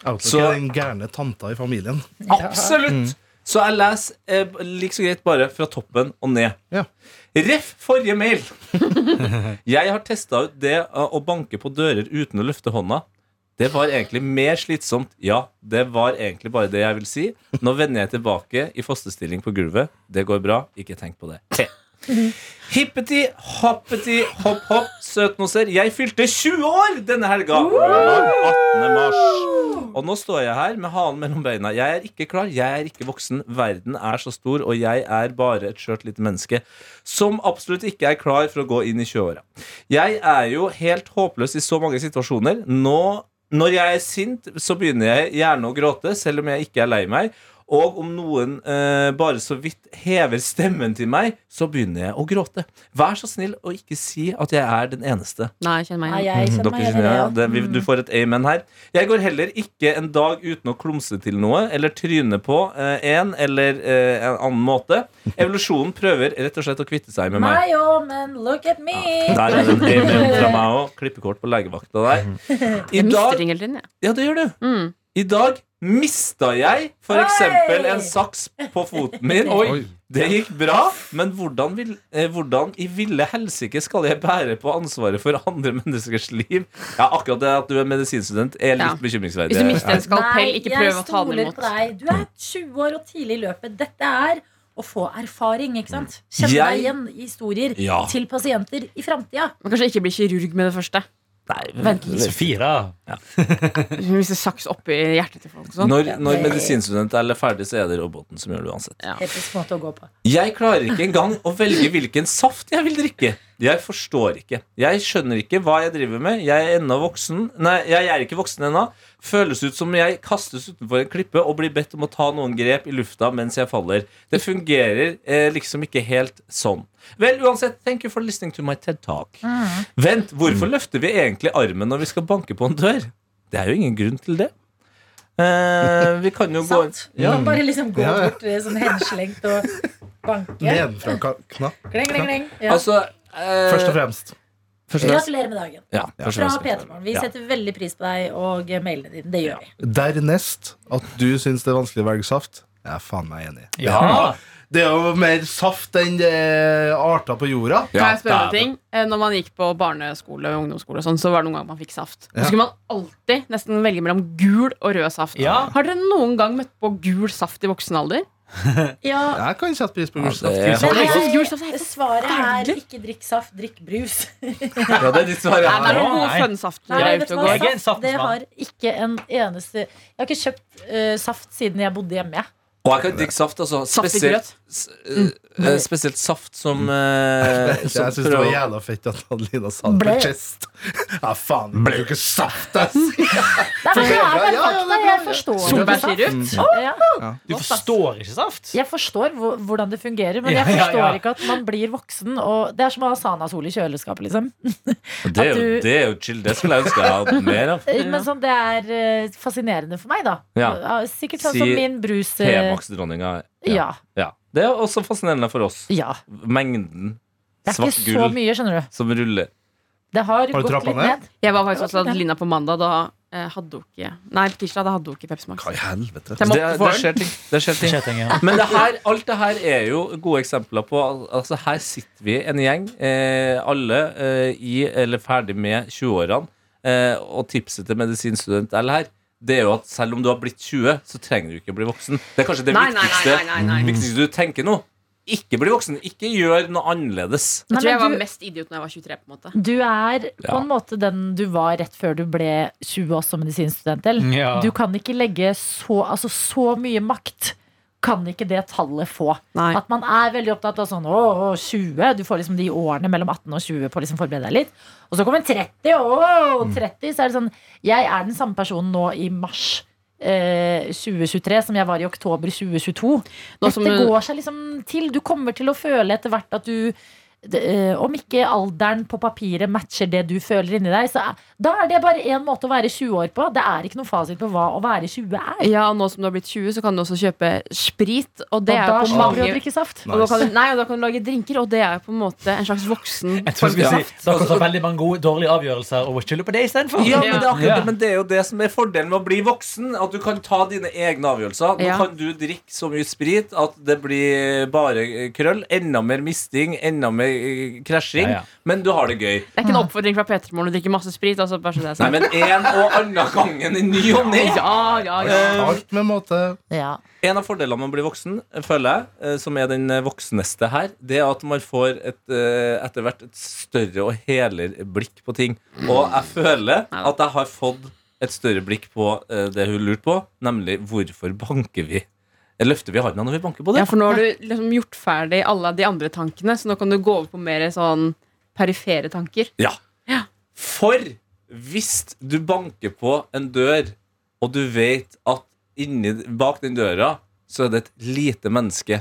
[SPEAKER 7] Outlook
[SPEAKER 6] Så-
[SPEAKER 7] er den gærne tanta i familien.
[SPEAKER 6] Absolutt! Så jeg leser eh, like så greit bare fra toppen og ned.
[SPEAKER 7] Ja.
[SPEAKER 6] Ref forrige mail. jeg har testa ut det eh, å banke på dører uten å løfte hånda. Det var egentlig mer slitsomt. Ja, det var egentlig bare det jeg vil si. Nå vender jeg tilbake i fosterstilling på gulvet. Det går bra. Ikke tenk på det. He. Hippeti, hoppeti, hopp, hopp, søtnoser. Jeg fylte 20 år denne helga! Lørdag 18. mars. Og nå står jeg her med halen mellom beina. Jeg er ikke klar, jeg er ikke voksen. Verden er så stor, og jeg er bare et skjørt lite menneske som absolutt ikke er klar for å gå inn i 20-åra. Jeg er jo helt håpløs i så mange situasjoner. Nå, når jeg er sint, så begynner jeg gjerne å gråte, selv om jeg ikke er lei meg. Og om noen eh, bare så vidt hever stemmen til meg, så begynner jeg å gråte. Vær så snill å ikke si at jeg er den eneste.
[SPEAKER 4] Nei, kjenn meg
[SPEAKER 2] Nei,
[SPEAKER 4] igjen.
[SPEAKER 2] jeg kjenner
[SPEAKER 6] Dere
[SPEAKER 2] meg igjen i
[SPEAKER 6] kjenner,
[SPEAKER 2] det.
[SPEAKER 6] ja.
[SPEAKER 2] ja.
[SPEAKER 6] det, vi, du får et amen her. Jeg går heller ikke en dag uten å klumse til noe eller tryne på eh, en eller eh, en annen måte. Evolusjonen prøver rett og slett å kvitte seg med meg.
[SPEAKER 2] Meg òg, men look at me!
[SPEAKER 6] Der er det en amen fra meg òg. Klippekort på legevakta der. I
[SPEAKER 4] Jeg mister
[SPEAKER 6] dag,
[SPEAKER 4] ting hele tiden, jeg.
[SPEAKER 6] ja, det gjør du.
[SPEAKER 4] Mm.
[SPEAKER 6] I dag mista jeg for
[SPEAKER 2] Oi!
[SPEAKER 6] eksempel en saks på foten min.
[SPEAKER 7] Oi.
[SPEAKER 6] Det gikk bra, men hvordan, vil, eh, hvordan i ville helsike skal jeg bære på ansvaret for andre menneskers liv? Ja, akkurat det at du er medisinstudent er litt
[SPEAKER 4] Ja.
[SPEAKER 6] bekymringsverdig.
[SPEAKER 4] Hvis du mister en skalpell,
[SPEAKER 2] Nei,
[SPEAKER 4] ikke prøv å ta den
[SPEAKER 2] Jeg stoler
[SPEAKER 4] imot.
[SPEAKER 2] på deg. Du er 20 år og tidlig i løpet. Dette er å få erfaring, ikke sant? Kjenne
[SPEAKER 6] Jeg-
[SPEAKER 2] deg igjen i historier
[SPEAKER 6] Ja. Mm.
[SPEAKER 2] til pasienter i framtida.
[SPEAKER 4] Men kanskje ikke bli kirurg med det første.
[SPEAKER 6] Vent
[SPEAKER 5] Sofie, da.
[SPEAKER 4] Hvis det saks oppi hjertet til folk. og sånn.
[SPEAKER 6] Når, når medisinstudent er ferdig, så er det roboten som gjør det uansett.
[SPEAKER 2] Episk måte å gå på.
[SPEAKER 6] Jeg klarer ikke engang å velge hvilken saft jeg vil drikke. Jeg forstår ikke. Jeg skjønner ikke hva jeg driver med. Jeg er ennå voksen Nei, jeg er ikke voksen ennå. Føles ut som jeg kastes utenfor en klippe og blir bedt om å ta noen grep i lufta mens jeg faller. Det fungerer eh, liksom ikke helt sånn. Vel, uansett, thank you for listening to my TED Talk.
[SPEAKER 2] Mm.
[SPEAKER 6] Vent, hvorfor løfter vi egentlig armen når vi skal banke på en dør? Det er jo ingen grunn til det. Eh, vi kan jo gå
[SPEAKER 2] Sant? Du kan Bare liksom gå
[SPEAKER 7] Ja, ja.
[SPEAKER 2] bort eh, sånn henslengt og banke.
[SPEAKER 7] Nedenfra ka- knapp,
[SPEAKER 6] Eh,
[SPEAKER 2] Kling, kling, kling. Ja.
[SPEAKER 6] Altså eh,
[SPEAKER 7] først og fremst.
[SPEAKER 6] først og fremst-
[SPEAKER 2] Gratulerer med dagen.
[SPEAKER 6] Ja, først og
[SPEAKER 2] Fra
[SPEAKER 6] fremst.
[SPEAKER 2] P3morgen. Vi
[SPEAKER 6] Ja.
[SPEAKER 2] setter veldig pris på deg og eh, mailene dine. Det gjør vi.
[SPEAKER 7] Dernest at du syns det er vanskelig å velge saft. Jeg er faen meg enig.
[SPEAKER 5] Ja.
[SPEAKER 7] Det er jo mer saft enn det er arter på jorda.
[SPEAKER 4] Kan jeg spørre om en ting? Eh, Når man gikk på barneskole og ungdomsskole, og sånn, så var det noen ganger man fikk saft.
[SPEAKER 7] Ja.
[SPEAKER 4] Så skulle man alltid nesten velge mellom gul og rød saft.
[SPEAKER 5] Ja.
[SPEAKER 4] Har dere noen gang møtt på gul saft i voksen alder?
[SPEAKER 2] Ja,
[SPEAKER 7] Jeg kan sette pris på gul saft.
[SPEAKER 6] det Sånn er-
[SPEAKER 7] Gul saft.
[SPEAKER 4] Jeg synes gul saft er helt
[SPEAKER 2] Svaret er
[SPEAKER 4] forferdelig.
[SPEAKER 2] ikke drikk saft, drikk brus.
[SPEAKER 6] Ja, det er ditt svar.
[SPEAKER 4] Nei, det er noen
[SPEAKER 5] Nei.
[SPEAKER 4] gode fønnsafter
[SPEAKER 2] Nei,
[SPEAKER 4] der
[SPEAKER 2] vet
[SPEAKER 4] ute
[SPEAKER 2] du
[SPEAKER 4] og
[SPEAKER 2] hva?
[SPEAKER 5] Jeg
[SPEAKER 4] går.
[SPEAKER 5] er en
[SPEAKER 2] Saft, det
[SPEAKER 5] saftmann.
[SPEAKER 2] har ikke en eneste Jeg har ikke kjøpt eh, saft siden jeg bodde hjemme. jeg.
[SPEAKER 6] Og jeg kan drikke saft, altså.
[SPEAKER 4] Saft i
[SPEAKER 6] Spesielt,
[SPEAKER 4] grøt.
[SPEAKER 6] s-
[SPEAKER 2] Mm.
[SPEAKER 6] eh, spesielt saft som, eh,
[SPEAKER 7] Jeg
[SPEAKER 6] som
[SPEAKER 7] syns det var
[SPEAKER 6] prøver-
[SPEAKER 7] jævla fett at Adelina sa det
[SPEAKER 2] Ble.
[SPEAKER 7] på chest. Ja, faen, du bruker saft, ass!
[SPEAKER 2] Nei, men det er
[SPEAKER 7] Ja,
[SPEAKER 2] bare
[SPEAKER 7] ja,
[SPEAKER 2] fakta.
[SPEAKER 7] ja, det er
[SPEAKER 2] Jeg
[SPEAKER 7] bra.
[SPEAKER 2] forstår det. bare.
[SPEAKER 6] Mm.
[SPEAKER 4] Solbærsirup?
[SPEAKER 2] Ja.
[SPEAKER 5] Du forstår ikke saft?
[SPEAKER 2] Jeg forstår hvor- hvordan det fungerer, men jeg
[SPEAKER 5] Ja, ja,
[SPEAKER 2] forstår
[SPEAKER 5] ja.
[SPEAKER 2] ikke at man blir voksen. Og det er som å ha Sana-sol i kjøleskapet, liksom.
[SPEAKER 6] Det er,
[SPEAKER 2] At
[SPEAKER 6] jo,
[SPEAKER 2] du-
[SPEAKER 6] det er jo chill. Det skulle jeg ønske jeg hadde mer av.
[SPEAKER 2] Eh, Men sånn, det er eh, fascinerende for meg, da.
[SPEAKER 6] Ja.
[SPEAKER 2] Eh, Sikkert sånn
[SPEAKER 6] Si
[SPEAKER 2] som min brus eh,
[SPEAKER 6] T-Max-dronninga. Ja.
[SPEAKER 2] Ja.
[SPEAKER 6] ja. Det er også fascinerende for oss.
[SPEAKER 2] ja.
[SPEAKER 6] Mengden
[SPEAKER 2] Det er ikke
[SPEAKER 6] svart
[SPEAKER 2] så
[SPEAKER 6] gull
[SPEAKER 2] mye, skjønner du.
[SPEAKER 6] som ruller.
[SPEAKER 2] Det har,
[SPEAKER 7] du
[SPEAKER 2] gått
[SPEAKER 7] trappa
[SPEAKER 2] litt
[SPEAKER 7] ned?
[SPEAKER 2] ned.
[SPEAKER 4] Jeg var faktisk også hos Adelina på mandag. Da eh, hadde hun ikke Nei, på tirsdag da hadde hun ikke Pepsi Max.
[SPEAKER 7] Hva i helvete?
[SPEAKER 4] Så jeg
[SPEAKER 6] Det,
[SPEAKER 4] måtte
[SPEAKER 6] det
[SPEAKER 4] få den.
[SPEAKER 6] skjer ting. Det skjer ting.
[SPEAKER 5] Kjeting, ja.
[SPEAKER 6] Men det her, alt det her er jo gode eksempler på al- Altså Her sitter vi en gjeng, eh, alle eh, i eller ferdig med 20-årene. Eh, og tipset til medisinstudent L her, det er jo at selv om du har blitt 20, så trenger du ikke bli voksen. Det er kanskje det
[SPEAKER 4] Nei, nei,
[SPEAKER 6] viktigste, Mm.
[SPEAKER 4] nei, nei, nei, nei.
[SPEAKER 6] viktigste du tenker nå. Ikke bli voksen. Ikke gjør noe annerledes.
[SPEAKER 4] Jeg tror jeg
[SPEAKER 2] Nei,
[SPEAKER 4] var
[SPEAKER 2] men du,
[SPEAKER 4] mest idiot når jeg var 23. på en måte
[SPEAKER 2] du er på
[SPEAKER 6] Ja.
[SPEAKER 2] en måte den du var rett før du ble 20 også som medisinstudent. eller?
[SPEAKER 5] Ja.
[SPEAKER 2] Du kan ikke legge så, altså, så mye makt kan ikke det tallet få.
[SPEAKER 4] Nei.
[SPEAKER 2] At man er veldig opptatt av sånn å, å, 20. Du får liksom de årene mellom 18 og 20 på å liksom forberede deg litt. Og så kommer 30, å, 30, så er det sånn Jeg er den samme personen nå i mars. Eh, 2023 som jeg var i oktober 2022.
[SPEAKER 4] Nå som
[SPEAKER 2] Dette
[SPEAKER 4] du-
[SPEAKER 2] går seg liksom til. Du kommer til å føle etter hvert at du det, eh, Om ikke alderen på papiret matcher det du føler inni deg, så er, da er det bare én måte å være 20 år på. Det er ikke noe fasit på hva å være 20 er.
[SPEAKER 4] Ja, og nå som du har blitt 20, så kan du også kjøpe sprit. Og det
[SPEAKER 2] og
[SPEAKER 4] er
[SPEAKER 2] da
[SPEAKER 4] jo på
[SPEAKER 2] slipper du å
[SPEAKER 4] mange
[SPEAKER 2] drikke saft.
[SPEAKER 4] og da kan du, Nei, og da kan du lage drinker, og det er jo på en måte en slags voksen
[SPEAKER 5] Jeg tror jeg skulle si Dere tar veldig mange gode, dårlige avgjørelser og skylder på det istedenfor.
[SPEAKER 6] Ja, men det, er akkurat,
[SPEAKER 5] Ja.
[SPEAKER 6] det, men det er jo det som er fordelen med å bli voksen. At du kan ta dine egne avgjørelser. Nå
[SPEAKER 4] Ja.
[SPEAKER 6] kan du drikke så mye sprit at det blir bare eh, krøll. Enda mer misting, enda mer eh, krasjing.
[SPEAKER 5] Ja, ja.
[SPEAKER 6] Men du har det gøy.
[SPEAKER 4] Det er ikke en oppfordring fra Peter Morn å drikke masse sprit. Altså, bare så det er
[SPEAKER 6] Nei,
[SPEAKER 4] sagt.
[SPEAKER 6] men en og annen gangen i ny og ne.
[SPEAKER 4] Ja, ja, ja.
[SPEAKER 7] Alt med måte.
[SPEAKER 2] Ja.
[SPEAKER 6] En av fordelene med å bli voksen, føler jeg, eh, som er den eh, voksneste her, det er at man får et, eh, etter hvert et større og helere blikk på ting. Og jeg føler at jeg har fått et større blikk på eh, det hun lurte på, nemlig hvorfor banker vi? Eh, Løfter vi handa når vi banker på
[SPEAKER 4] ja,
[SPEAKER 6] det?
[SPEAKER 4] for nå har du liksom gjort ferdig alle de andre tankene, så nå kan du gå over på mer sånn perifere tanker.
[SPEAKER 6] Ja. For hvis du banker på en dør, og du vet at inni, bak den døra så er det et lite menneske,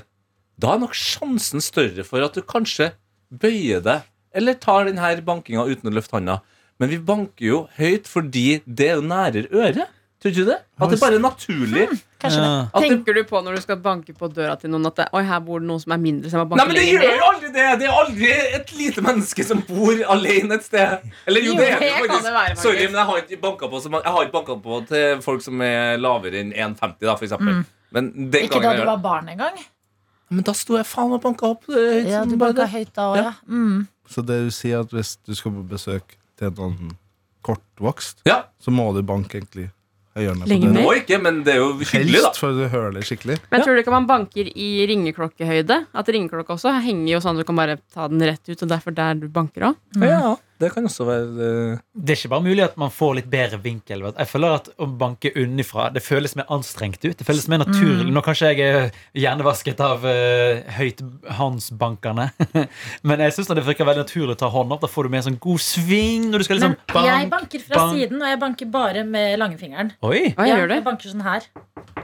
[SPEAKER 6] da er nok sjansen større for at du kanskje bøyer deg eller tar denne bankinga uten å løfte handa. Men vi banker jo høyt fordi det er jo nærere øret. Tror du ikke det? At det bare er naturlig.
[SPEAKER 2] Kanskje det.
[SPEAKER 6] At det
[SPEAKER 4] Tenker du på når du skal banke på døra til noen at det, Oi, her bor det noen som er mindre, som jeg
[SPEAKER 6] Nei,
[SPEAKER 4] banker
[SPEAKER 6] men det
[SPEAKER 4] lenger
[SPEAKER 6] gjør
[SPEAKER 4] ned?
[SPEAKER 6] jo aldri det! Det er aldri et lite menneske som bor alene et sted. Eller jo,
[SPEAKER 4] Jo,
[SPEAKER 6] det er det
[SPEAKER 4] det
[SPEAKER 6] jo
[SPEAKER 4] kan
[SPEAKER 6] faktisk.
[SPEAKER 4] det være, faktisk.
[SPEAKER 6] Sorry, men jeg har ikke banka på, så man- jeg har ikke banka på til folk som er lavere enn 1,50, da, for eksempel.
[SPEAKER 4] Mm.
[SPEAKER 6] Men den
[SPEAKER 2] Ikke
[SPEAKER 6] gangen
[SPEAKER 2] da
[SPEAKER 6] jeg
[SPEAKER 2] du
[SPEAKER 6] gjør
[SPEAKER 2] var barn engang.
[SPEAKER 6] det Men da sto jeg faen meg og banka opp. eh,
[SPEAKER 2] Ja,
[SPEAKER 6] som
[SPEAKER 2] du
[SPEAKER 6] bare
[SPEAKER 2] banka
[SPEAKER 6] det.
[SPEAKER 2] høyt da òg, ja. Mm.
[SPEAKER 7] Så det du sier, at hvis du skal på besøk til en annen kortvokst,
[SPEAKER 6] Ja,
[SPEAKER 7] så må du banke egentlig høyere ned
[SPEAKER 4] Lenge
[SPEAKER 7] på
[SPEAKER 6] Nå
[SPEAKER 7] døra.
[SPEAKER 6] ikke, men det er jo hyggelig, da.
[SPEAKER 7] Helst for du hører det skikkelig.
[SPEAKER 4] Men jeg tror du ikke man banker i ringeklokkehøyde? At ringeklokka også henger jo sånn at du kan bare ta den rett ut, og derfor der du banker òg?
[SPEAKER 2] Mm.
[SPEAKER 6] Ja, det kan også være eh,
[SPEAKER 5] Det er ikke bare mulig at man får litt bedre vinkel. vet du. Jeg føler at Å banke unnifra det føles mer anstrengt ut. Det føles mer
[SPEAKER 2] Mm.
[SPEAKER 5] naturlig. Nå kanskje jeg er hjernevasket av eh, høythåndsbankerne. Men jeg syns det virker veldig naturlig å ta hånden opp. Da får du mer sånn god sving. Når du skal liksom
[SPEAKER 2] Men jeg
[SPEAKER 5] bank.
[SPEAKER 2] banker fra
[SPEAKER 5] bank.
[SPEAKER 2] siden, og jeg banker bare med langfingeren.
[SPEAKER 5] Oi!
[SPEAKER 4] Hva
[SPEAKER 2] Ja,
[SPEAKER 4] gjør
[SPEAKER 2] Jeg
[SPEAKER 4] du?
[SPEAKER 2] banker sånn her.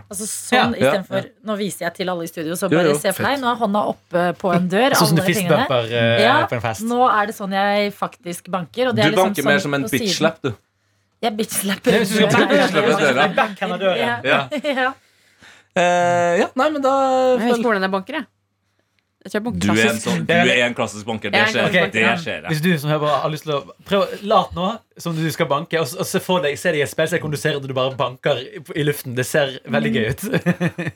[SPEAKER 2] Altså sånn
[SPEAKER 6] Ja, ja,
[SPEAKER 2] istedenfor Nå viser jeg til alle i studio, så
[SPEAKER 6] Jo,
[SPEAKER 2] bare
[SPEAKER 6] jo,
[SPEAKER 2] se for deg. Nå er hånda oppe på en dør.
[SPEAKER 5] Sånn som
[SPEAKER 2] alle
[SPEAKER 5] du
[SPEAKER 2] fingrene.
[SPEAKER 5] fistbumper eh,
[SPEAKER 2] Ja,
[SPEAKER 5] på en fest.
[SPEAKER 2] Nå er det sånn jeg faktisk banker. Og
[SPEAKER 6] Du
[SPEAKER 2] det er liksom
[SPEAKER 6] banker mer
[SPEAKER 2] sånn
[SPEAKER 6] som en
[SPEAKER 2] på siden.
[SPEAKER 6] bitch-slap, du.
[SPEAKER 2] Jeg bitch-slapper.
[SPEAKER 5] Nei, hvis du skal
[SPEAKER 2] døra.
[SPEAKER 5] banke
[SPEAKER 6] bitch-slappe døra.
[SPEAKER 5] Jeg backhander døren.
[SPEAKER 2] Ja.
[SPEAKER 6] Ja.
[SPEAKER 2] Ja.
[SPEAKER 6] Eh, ja, nei, men da
[SPEAKER 4] Jeg vet ikke hvordan jeg banker, jeg. Jeg tror jeg banker
[SPEAKER 6] Du er en
[SPEAKER 4] klassisk.
[SPEAKER 6] sånn Du er en klassisk banker. Det
[SPEAKER 4] Jeg er en
[SPEAKER 6] skjer.
[SPEAKER 4] klassisk
[SPEAKER 6] Det
[SPEAKER 4] banker.
[SPEAKER 6] skjer, ja.
[SPEAKER 5] Hvis du som hører på har lyst til å prøv, å- Lat nå som du skal banke, og, s- og se for deg se deg i et speil, se hvordan du ser ut når du bare banker i, i luften. Det ser
[SPEAKER 2] Mm.
[SPEAKER 5] veldig gøy ut.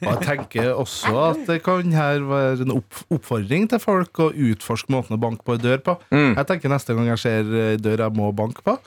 [SPEAKER 7] Og jeg tenker også at det kan her være en opp oppfordring til folk å utforske måten å banke på en dør på.
[SPEAKER 6] Mm.
[SPEAKER 7] Jeg tenker neste gang jeg ser ei dør jeg må banke på,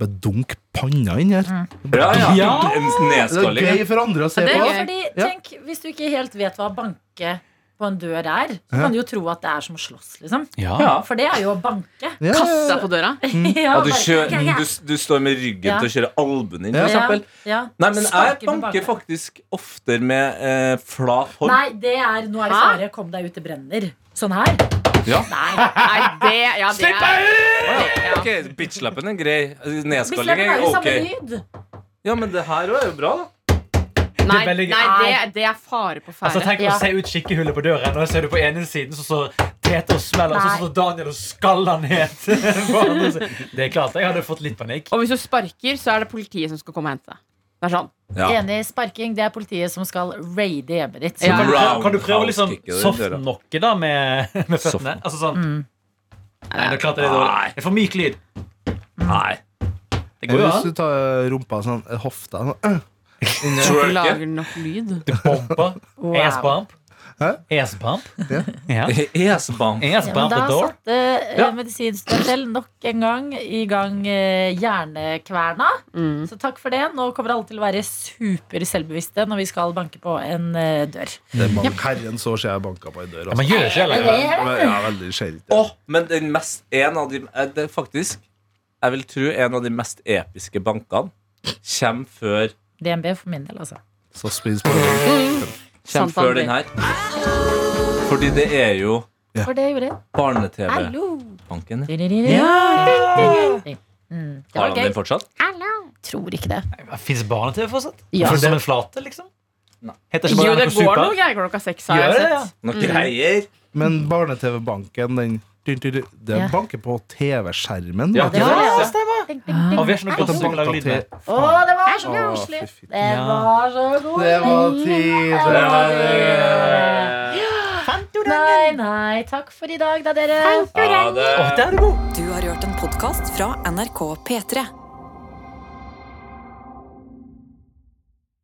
[SPEAKER 7] bedunk panna inn her.
[SPEAKER 6] Ja, ja.
[SPEAKER 5] Ja.
[SPEAKER 6] En
[SPEAKER 7] Det er
[SPEAKER 6] nedskalling.
[SPEAKER 7] gøy for andre å se
[SPEAKER 4] det er
[SPEAKER 7] på.
[SPEAKER 4] gøy.
[SPEAKER 2] Fordi,
[SPEAKER 7] Ja.
[SPEAKER 2] tenk, Hvis du ikke helt vet hva banke på en dør er, så
[SPEAKER 7] Ja.
[SPEAKER 2] kan du jo tro at det er som å slåss, liksom.
[SPEAKER 5] Ja.
[SPEAKER 2] For det er jo å banke.
[SPEAKER 7] Ja,
[SPEAKER 4] Kaste deg på døra.
[SPEAKER 2] ja,
[SPEAKER 6] Mm. Ja, du,
[SPEAKER 2] bare-
[SPEAKER 6] kjø- mm,
[SPEAKER 2] ja, ja.
[SPEAKER 6] du, s- du står med ryggen
[SPEAKER 2] Ja.
[SPEAKER 6] til å kjøre albuen inn.
[SPEAKER 7] Ja.
[SPEAKER 6] for eksempel.
[SPEAKER 2] Ja.
[SPEAKER 6] Nei, men jeg
[SPEAKER 2] Sparke på
[SPEAKER 6] banker
[SPEAKER 2] bakene.
[SPEAKER 6] faktisk oftere med eh, flat hånd.
[SPEAKER 2] Nei, det er Nå er det
[SPEAKER 4] Hæ?
[SPEAKER 2] fare. Kom deg ut, det brenner. Sånn her.
[SPEAKER 6] Ja.
[SPEAKER 2] Nei.
[SPEAKER 4] Nei, det, ja, det er
[SPEAKER 6] Ja. Ok, Bitchlappen er grei.
[SPEAKER 2] Hvis
[SPEAKER 6] Nedskalling
[SPEAKER 2] lemmen er
[SPEAKER 6] er
[SPEAKER 2] jo
[SPEAKER 6] ok.
[SPEAKER 2] samme lyd.
[SPEAKER 6] Ja, men det her òg er jo bra, da.
[SPEAKER 4] Nei,
[SPEAKER 5] Det er veldig-
[SPEAKER 4] nei det, det er fare på
[SPEAKER 5] Altså,
[SPEAKER 4] ferde.
[SPEAKER 5] tenk å se ut skikkehullet på døren, og så er du på ene siden, så står Peter og smeller, og så
[SPEAKER 2] Nei.
[SPEAKER 5] står Daniel og skaller ned. på andre siden. det er klart, jeg hadde fått litt panikk.
[SPEAKER 4] Og hvis du sparker, så er det politiet som skal komme og hente deg. Det er sånn.
[SPEAKER 6] Ja.
[SPEAKER 2] Enig. Sparking, det er politiet som skal raide hjemmet ditt.
[SPEAKER 4] Ja.
[SPEAKER 5] Kan du, kan du prøve å liksom
[SPEAKER 6] Roundhouse-kick, det er det, da.
[SPEAKER 5] soft-knocke da med, med føttene? Altså sånn Nei, det er klart det er dårlig. Det er for myk lyd.
[SPEAKER 6] Nei.
[SPEAKER 5] Det går jo
[SPEAKER 7] Hvis
[SPEAKER 5] an.
[SPEAKER 7] du tar rumpa sånn, eh, hofta sånn, øh,
[SPEAKER 4] Du
[SPEAKER 6] Twerke.
[SPEAKER 4] lager nok lyd.
[SPEAKER 5] Du bomper.
[SPEAKER 2] Wow.
[SPEAKER 5] Ass bump.
[SPEAKER 7] Hæ?
[SPEAKER 5] Ass bump.
[SPEAKER 7] Ja.
[SPEAKER 5] Ja.
[SPEAKER 6] Esebamp.
[SPEAKER 5] Ass
[SPEAKER 2] Ja, men
[SPEAKER 5] bump
[SPEAKER 2] da
[SPEAKER 5] the door.
[SPEAKER 2] satte eh,
[SPEAKER 5] Ja.
[SPEAKER 2] medisinstell nok en gang i gang eh, hjernekverna.
[SPEAKER 4] Mm.
[SPEAKER 2] Så takk for det. Nå kommer alle til å være super selvbevisste når vi skal banke på en eh, dør.
[SPEAKER 7] det er mange herrens år siden jeg banka på ei dør.
[SPEAKER 5] Ja, man gjør ikke heller det.
[SPEAKER 7] Men jeg er veldig sjeldent.
[SPEAKER 6] Åh, men den mest En av de eh, det er Faktisk, jeg vil tro en av de mest episke bankene kommer før
[SPEAKER 2] DNB for min del, altså.
[SPEAKER 7] Så spis på det.
[SPEAKER 6] Kjem
[SPEAKER 4] Sant,
[SPEAKER 6] før
[SPEAKER 4] André.
[SPEAKER 6] den her. Fordi det er jo
[SPEAKER 2] For det gjorde jeg.
[SPEAKER 6] barne-TV-banken.
[SPEAKER 2] Hallo!
[SPEAKER 6] Har
[SPEAKER 2] Mm, det var
[SPEAKER 6] han den
[SPEAKER 2] gøy.
[SPEAKER 6] fortsatt?
[SPEAKER 2] Tror ikke det.
[SPEAKER 5] Fins barne-TV fortsatt?
[SPEAKER 2] Ja.
[SPEAKER 5] For Som en flate, liksom?
[SPEAKER 6] Nei.
[SPEAKER 5] Heter ikke
[SPEAKER 4] Jo,
[SPEAKER 5] bare
[SPEAKER 4] det
[SPEAKER 5] NRK
[SPEAKER 4] går
[SPEAKER 5] Super?
[SPEAKER 4] noe greier klokka seks, har
[SPEAKER 5] Gjør
[SPEAKER 4] jeg
[SPEAKER 5] det, ja.
[SPEAKER 4] sett.
[SPEAKER 2] Mm.
[SPEAKER 6] Noen greier?
[SPEAKER 7] Men Barne-TV-banken, den dyn, dyn, dyn, Det
[SPEAKER 2] Ja.
[SPEAKER 7] banker på TV-skjermen.
[SPEAKER 6] Ja,
[SPEAKER 2] Det
[SPEAKER 7] banker
[SPEAKER 2] var det,
[SPEAKER 6] Ja,
[SPEAKER 2] altså. Ding, ding, ding.
[SPEAKER 5] Og vi er så noe
[SPEAKER 7] på
[SPEAKER 5] godt som kan lage
[SPEAKER 7] banka
[SPEAKER 5] lyd med.
[SPEAKER 7] til-
[SPEAKER 2] Å, det var så
[SPEAKER 7] Å,
[SPEAKER 2] koselig!
[SPEAKER 7] fy fitte.
[SPEAKER 2] Det
[SPEAKER 5] Ja.
[SPEAKER 2] var så god
[SPEAKER 7] Det var tider.
[SPEAKER 2] Nei, nei, takk for i dag da, dere.
[SPEAKER 6] Ha det.
[SPEAKER 5] Å, der er du god!
[SPEAKER 1] Du har hørt en podkast fra NRK P3.